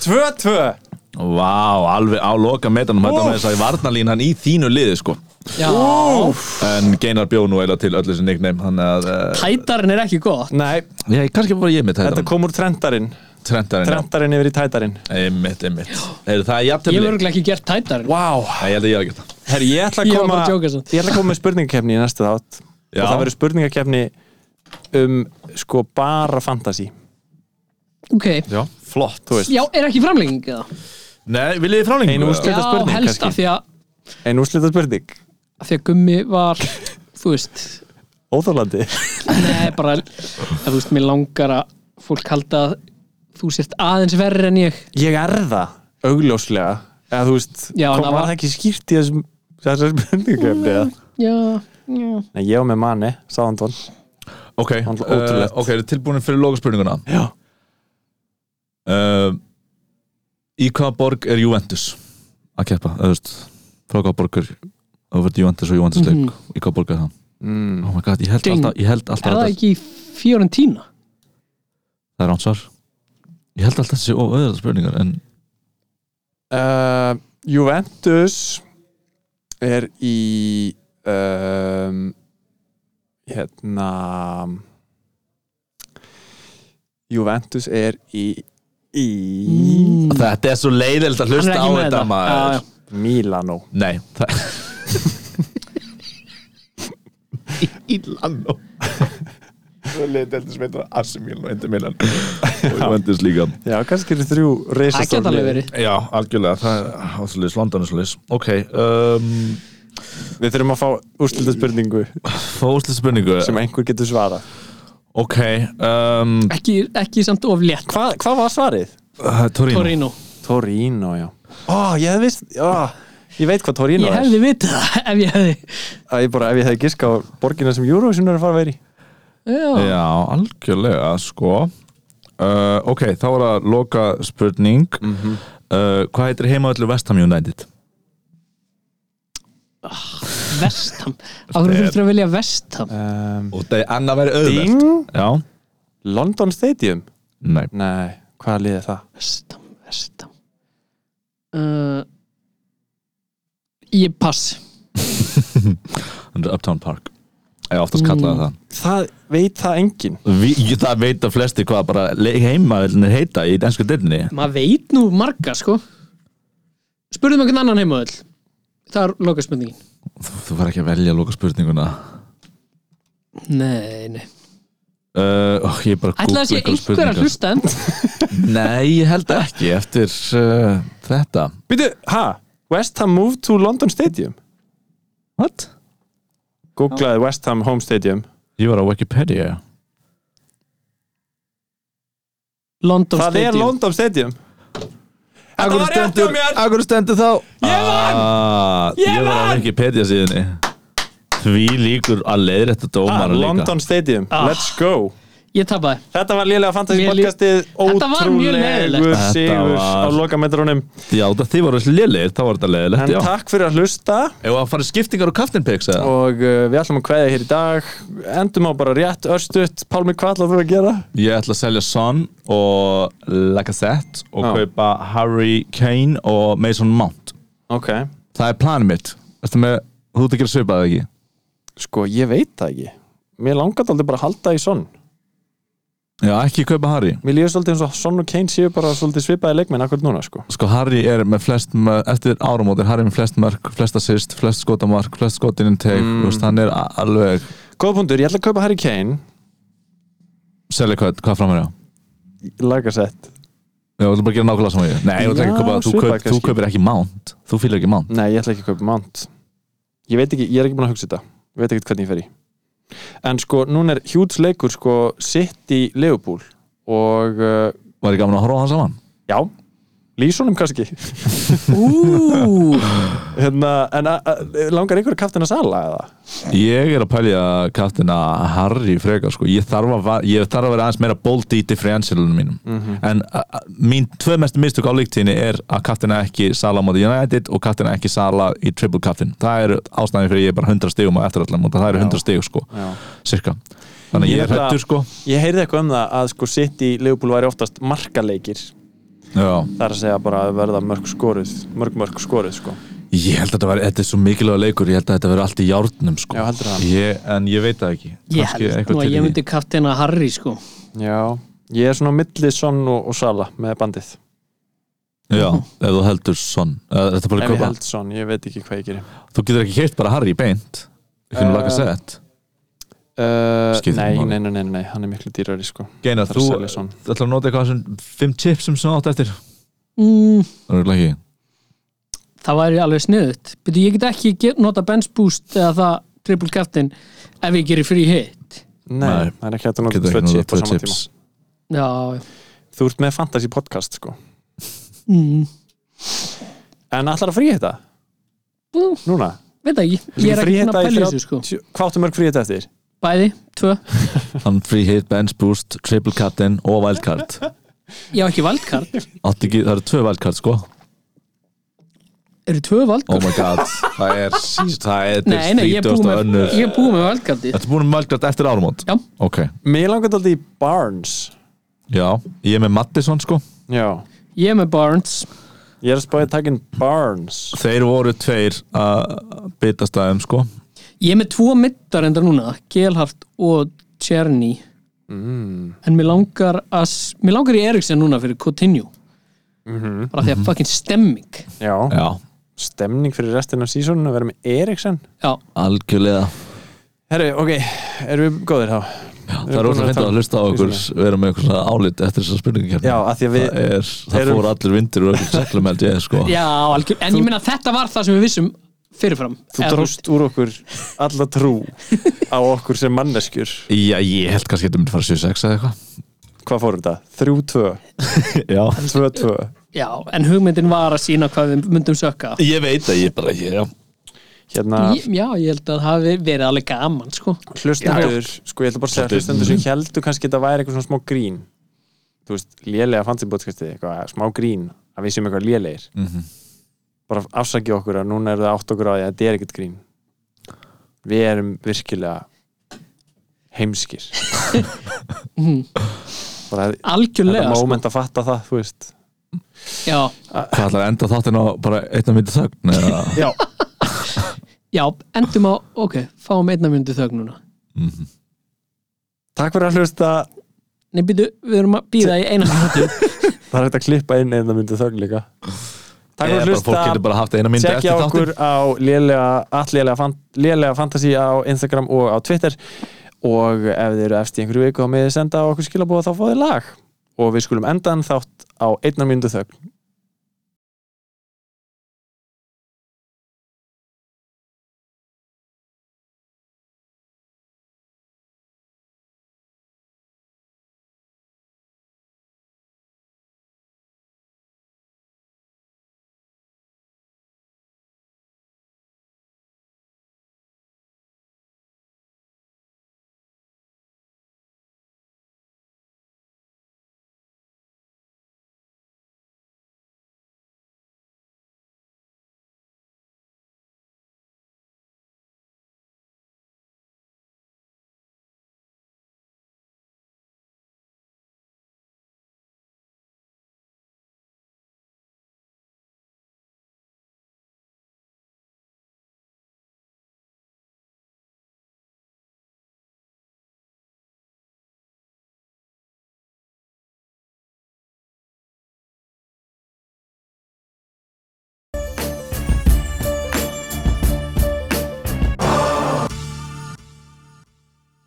C: 2-2
B: Vá, alveg á loka metanum Þetta
C: Úff.
B: með þess að varnalínan í þínu liði sko
D: Já,
B: En Geinar bjó nú eila til öllu sem nickname Hann að uh,
D: tætarinn er ekki gott
C: Nei,
B: Já, kannski bara ég með
C: þetta
B: tættan
C: kom úr trendarinn
B: Trentarinn já.
C: Trendarinn yfir í tætarinn
B: Einmitt, einmitt Heyrðu, Það er
D: Ég
B: jafntefli
D: hef örgulega ekki gert tætarinn
C: Vá
B: Nei, Ég held að ég hafa gert það
C: Herri, ég ætla að
D: Ég var
C: koma
D: bara að djóka samt.
C: Ég ætla að koma með spurningakefni í næstu þátt
B: Já.
C: Og það verður spurningakefni um sko bara fantasy
D: Ok,
B: Já, flott
C: Þú veist,
D: já, er ekki framlenging eða?
B: Nei, viljið þið frálingu?
C: Ein úrslit.
D: Já,
C: Þetta er spurning,
D: helst
C: kannski.
D: af því að,
C: ein úrslita spurning
D: af því að gummi var Þú veist
C: Óþólandi
D: Nei, bara að, Þú veist, mér langar að fólk halda að þú sért aðeins verri en ég
C: Ég er það, augljóslega Eða þú veist,
D: Já,
C: kom,
D: það
C: var
D: var-
C: það ekki skýrt í þessum þessar spurningakefni eða?
D: Já, já
C: Nei, ég var með manni, Sáðantón
B: Ok,
C: Hann var
B: uh,
C: ótrúlegt.
B: ok, tilbúin fyrir loka spurninguna
C: Já
B: uh, Í hvaða borg er Juventus að keppa? Þú veist, frá hvaða borg er Það verður Juventus og Juventus leik Í hvaða borg er það?
C: mm.
B: Oh my god, ég held
D: Ding.
B: alltaf, ég held alltaf
D: Er
B: að
D: það
B: þetta-
D: ekki fjórun tína?
B: Það er ánsvar Ég held alltaf þessi óöðra spurningar en
C: uh, Juventus er í um, hérna Juventus er í í Mm.
D: Hmm.
B: Þetta er svo leiðilegt að hlusta á þetta maður
D: Já,
C: Milano
B: Nei það... Í Lano Leiðilegt að smita Asimil og Endur Milan Og Juventus líka
C: Já, kannski eru þrjú
D: já Það
C: reisastór
D: geta alveg verið
B: Já, algjörlega, það er ásleis, London er svolítið Ok, um,
C: Við þurfum að fá úrslita spurningu
B: fóðslega spurningu
C: sem einhver getur svara
B: Ok, um,
D: Ekki, ekki samt of létt
C: Hva, Hvað var svarið?
B: uh, Torino
D: Torino
C: Torino, já Ó, ég hef vist ó, Ég veit hvað Torino
D: Ég
C: er
D: hefði vitað það ef ég hefði
C: að ég bara, Ef ég hefði giska á borgina sem Eurovision er að fara að veri
D: Já,
B: Já, algjörlega, sko uh, Ok, þá var að loka spurning
D: Mhm.
B: uh, Hvað heitir heimaöllu Vestham United?
D: vestam Áhverju þurftur að velja vestam
C: um,
B: Og það er annað verið
C: Ding
B: Já,
C: London Stadium
B: nei
C: Nei, hvaða liðið það?
D: Vestam, vestam uh, Ég pass
B: Hann er Uptown Park Ég oftast kallaði
D: Mm.
B: það
C: Það veit það enginn
B: Vi, ég, Það veit að flesti hvað bara heimaöllunir heita í dansku dyrni
D: Maður veit nú marga sko Spurðum einhvern annan heimöðl Það er loka spurningin
B: Þú, þú var ekki að velja að loka spurninguna
D: Nei, nei
B: uh, ó, Ég bara
D: Ætlaði að sé
B: einhverjar
D: einhver að
B: spurningar.
D: hlusta en
B: Nei, ég held ekki eftir uh, þetta
C: Býtu, ha? West Ham moved to London Stadium
B: What?
C: Googlaði West Ham Home Stadium
B: Ég var á Wikipedia
D: London
C: Það er
D: Stadium
C: London Stadium Þetta
B: Akkur
C: var rétt
B: stendur,
C: hjá mér.
B: akkur stendur þá Ég
C: vann!
B: Ég var á Wikipedia síðunni Því líkur að leiðir þetta
C: Ah,
B: dómar líka
C: London Stadium,
D: Ah.
C: let's go
D: Ég tapaði
C: Þetta var lélega fantasy
D: Mér lí-
C: podcastið
D: Þetta var mjög
C: Ótrúlegur
B: leiðilegt.
C: sigur
B: Þetta var-
C: á lokametrunum
B: Já, það þið voru þessi lélegir, þá var þetta leiðilegt
C: En
B: já.
C: takk fyrir að hlusta
B: Ef að fara í skiptingar og kaftinpiks eða?
C: Og uh, við ætlum að kveðja hér í dag Endum á bara rétt örstutt Pálmi, hvað ætlaðu þú að gera?
B: Ég ætla að selja Son og Lacazette og
C: Já.
B: kaupa Harry Kane og Mason Mount
C: Ok,
B: Það er planið mitt Ertu með, þú ert að gera svipað eða ekki?
C: sko ég veit það ekki Mér langar aldrei bara að halda í sonn
B: Já, ekki kaupa Harry
C: Mér líður svolítið eins og Son og Kane séu bara svolítið svipaði leikmenn akkur núna sko
B: Sko Harry er með flest mörg, eftir áramót er Harry með flest mörg, flest assist, flest skotamark, flest skotinn teg,
C: Mm.
B: mm. veist, hann er a- alveg
C: Góða punktur, ég ætla að kaupa Harry Kane
B: selja hvað, hvað framar ég á?
C: Lagasett
B: Já, ég ætla bara að gera nákvæmlega saman ég. Nei, ég ætla ekki að
C: Já,
B: kaupa, þú,
C: svipað
B: kaup, þú
C: kannski.
B: kaupir ekki Mount, þú fýlar ekki Mount.
C: Nei, ég ætla ekki að kaupa Mount Ég veit ekki, ég er ekki búin að hugsa þetta Ég veit ekki hvernig ég fer í en sko núna er hjúts leikur sko sitt í Leopold og uh,
B: Var ég gaman að horfa á hann saman?
C: já, lýsunum kannski
D: Ú,
C: hérna, en a, a, langar einhver kaftin að sala eða?
B: Ég er að pælja kaftina Harry frekar sko. ég, þarf að, va- ég þarf að vera aðeins meira bold í differentialunum mínum en a, a, mín tvö mest mistök á líktíðinni er að kaftina ekki sala á móti United og kaftina ekki sala í triple kaftin það eru ástæðin fyrir ég er bara 100 stigum á eftirallan og það eru 100 stig sko,
C: Já.
B: cirka þannig að ég er
C: Ég ætla-
B: hættur sko
C: Ég heyrði eitthvað um það að sko sitt í Leopold væri oftast markaleikir
B: Já.
C: það er að segja bara að verða mörg skoruð mörg mörg skoruð sko
B: ég held að þetta, var, þetta er svo mikilvæg leikur ég held að þetta verði allt í járnum sko.
C: Já, heldurðu það?
B: ég, en ég veit það ekki
D: ég
B: Kannski
D: held
B: eitthvað
D: nú
B: til
D: að
B: í-
D: ég myndi kaftina Harry sko
C: Já, ég er svona á milli Son og, og Sala með bandið
B: Já, ef þú heldur svon Þetta er bara
C: Ef
B: að
C: ég
B: kaupa
C: held Son, ég veit ekki hvað ég gerir
B: Þú getur ekki keitt bara Harry beint Þínum uh,
C: Eh,
B: laga sett
C: uh,
B: Skiptir
C: nei,
B: máli.
C: nei, nei, nei, nei, hann er miklu dýrari sko
B: Geinar,
C: Það er
B: þú
C: að selja Son.
B: ætlar að nota eitthvað sem Fimm chipsum sem átt eftir
D: mm,
B: Það eru ekki
D: Það væri alveg sniðut Býtu, ég get ekki get, nota bench boost eða það triple kaftin ef ég gerir free hit
C: Nei,
B: Nei.
C: það er ekki hægt að nota
B: Getur
C: tvö
B: ekki nota
C: chip á
B: tvö
C: sama
B: chips
C: tíma
D: Já,
C: Þú ert með fantasy podcast sko
D: mm,
C: En allar að frí þetta?
D: Ú.
C: Núna?
D: veit það ekki Ég er ekki búin að pæla í þessu sko
C: sko Hvað áttu mörg frí þetta eftir?
D: Bæði, tvö,
B: Hann free hit, bench boost, triple captain og wildcard
D: ég á ekki valdkart
B: Átt ekki, Það eru tvö wildcard sko
D: Eru tvö
B: Oh
D: valdkart?
B: my god Það er síst Það er
D: nei, nei, ég er búin
B: þrítjósta
D: með,
B: önnur
D: ég er búin með valdkarti
B: Þetta er búin með wildcard eftir árumót
D: Já.
B: Ok
C: Mér langar þetta í Barnes
B: Já Ég er með Mattisson sko
C: Já,
D: Ég er með Barnes
C: ég er að spáði takin Barnes
B: Þeir voru tveir að bitast aðeim sko
D: Ég er með tvo middar enda núna Gelhart og Tjerni
C: mm.
D: en mér langar að s- mér langar í Eriksen núna fyrir Coutinho
C: Mm
D: bara því að fucking stemming
C: Já.
B: Já
C: stemning fyrir restin af sísónu að vera með Eriksson
D: Já,
B: Algjörlega
C: Herru, ok, erum við góðir þá?
B: Það er ótrúlega fyndið að hlusta á okkur vera með eitthvað svona álit eftir þessar spurningakefni
C: Já, af því að við
B: það, er, það
C: erum-
B: fór allir vindur og okkur seglum held ég sko.
D: já algjör, en ég meina þetta var það sem við vissum fyrirfram
C: Þú
D: Eða,
C: dróst úr okkur alla trú á okkur sem manneskjur
B: Já, ég held kannski að þetta myndi fara 7-6 eða eitthvað
C: Hvað fórum þetta? 3-2
B: Já
C: 2-2
D: Já, en hugmyndin var að sína hvað við myndum sökka
B: Ég veit að ég bara ég, já.
C: Hérna,
D: Ég- Já, ég held að það hafi verið alveg gaman sko.
C: hlustendur Sko, ég ætla bara að segja
B: Þetta er-
C: hlustendur sem heldur kannski þetta væri eitthvað svona smá grín Þú veist, lélega fanns í bóttkastið eitthvað smá grín að við séum eitthvað lélegir
B: Mhm.
C: bara afsakið okkur að núna eru það átt okkur á því að þetta er ekkert grín Við erum virkilega heimskir
D: Mhm.
C: bara þetta
D: Algjörlega sko.
C: moment að fatta það, þú veist
D: já,
B: Hvað ætlar að enda þáttinn á bara einna myndi þögn eða
C: Já,
D: já, endum á, ok, fáum einna myndi þögn núna
C: takk fyrir að hlusta
D: Nei, býtu, við erum að býða í eina myndi
C: Það er hægt að klippa inn eða myndið þögn líka Takk
B: Eða
C: fyrir að
B: bara fólk getur
C: hlusta
B: bara haft eina myndi
C: Tjekkja
B: eftir
C: okkur
B: þáttinn
C: á lélega, alllélega fan, lélega fantasi á Instagram og á Twitter og ef þið eru efst í einhverju viku þá með þið senda á okkur skilabóða þá fá þið lag og við skulum endan þátt á einna myndu þögn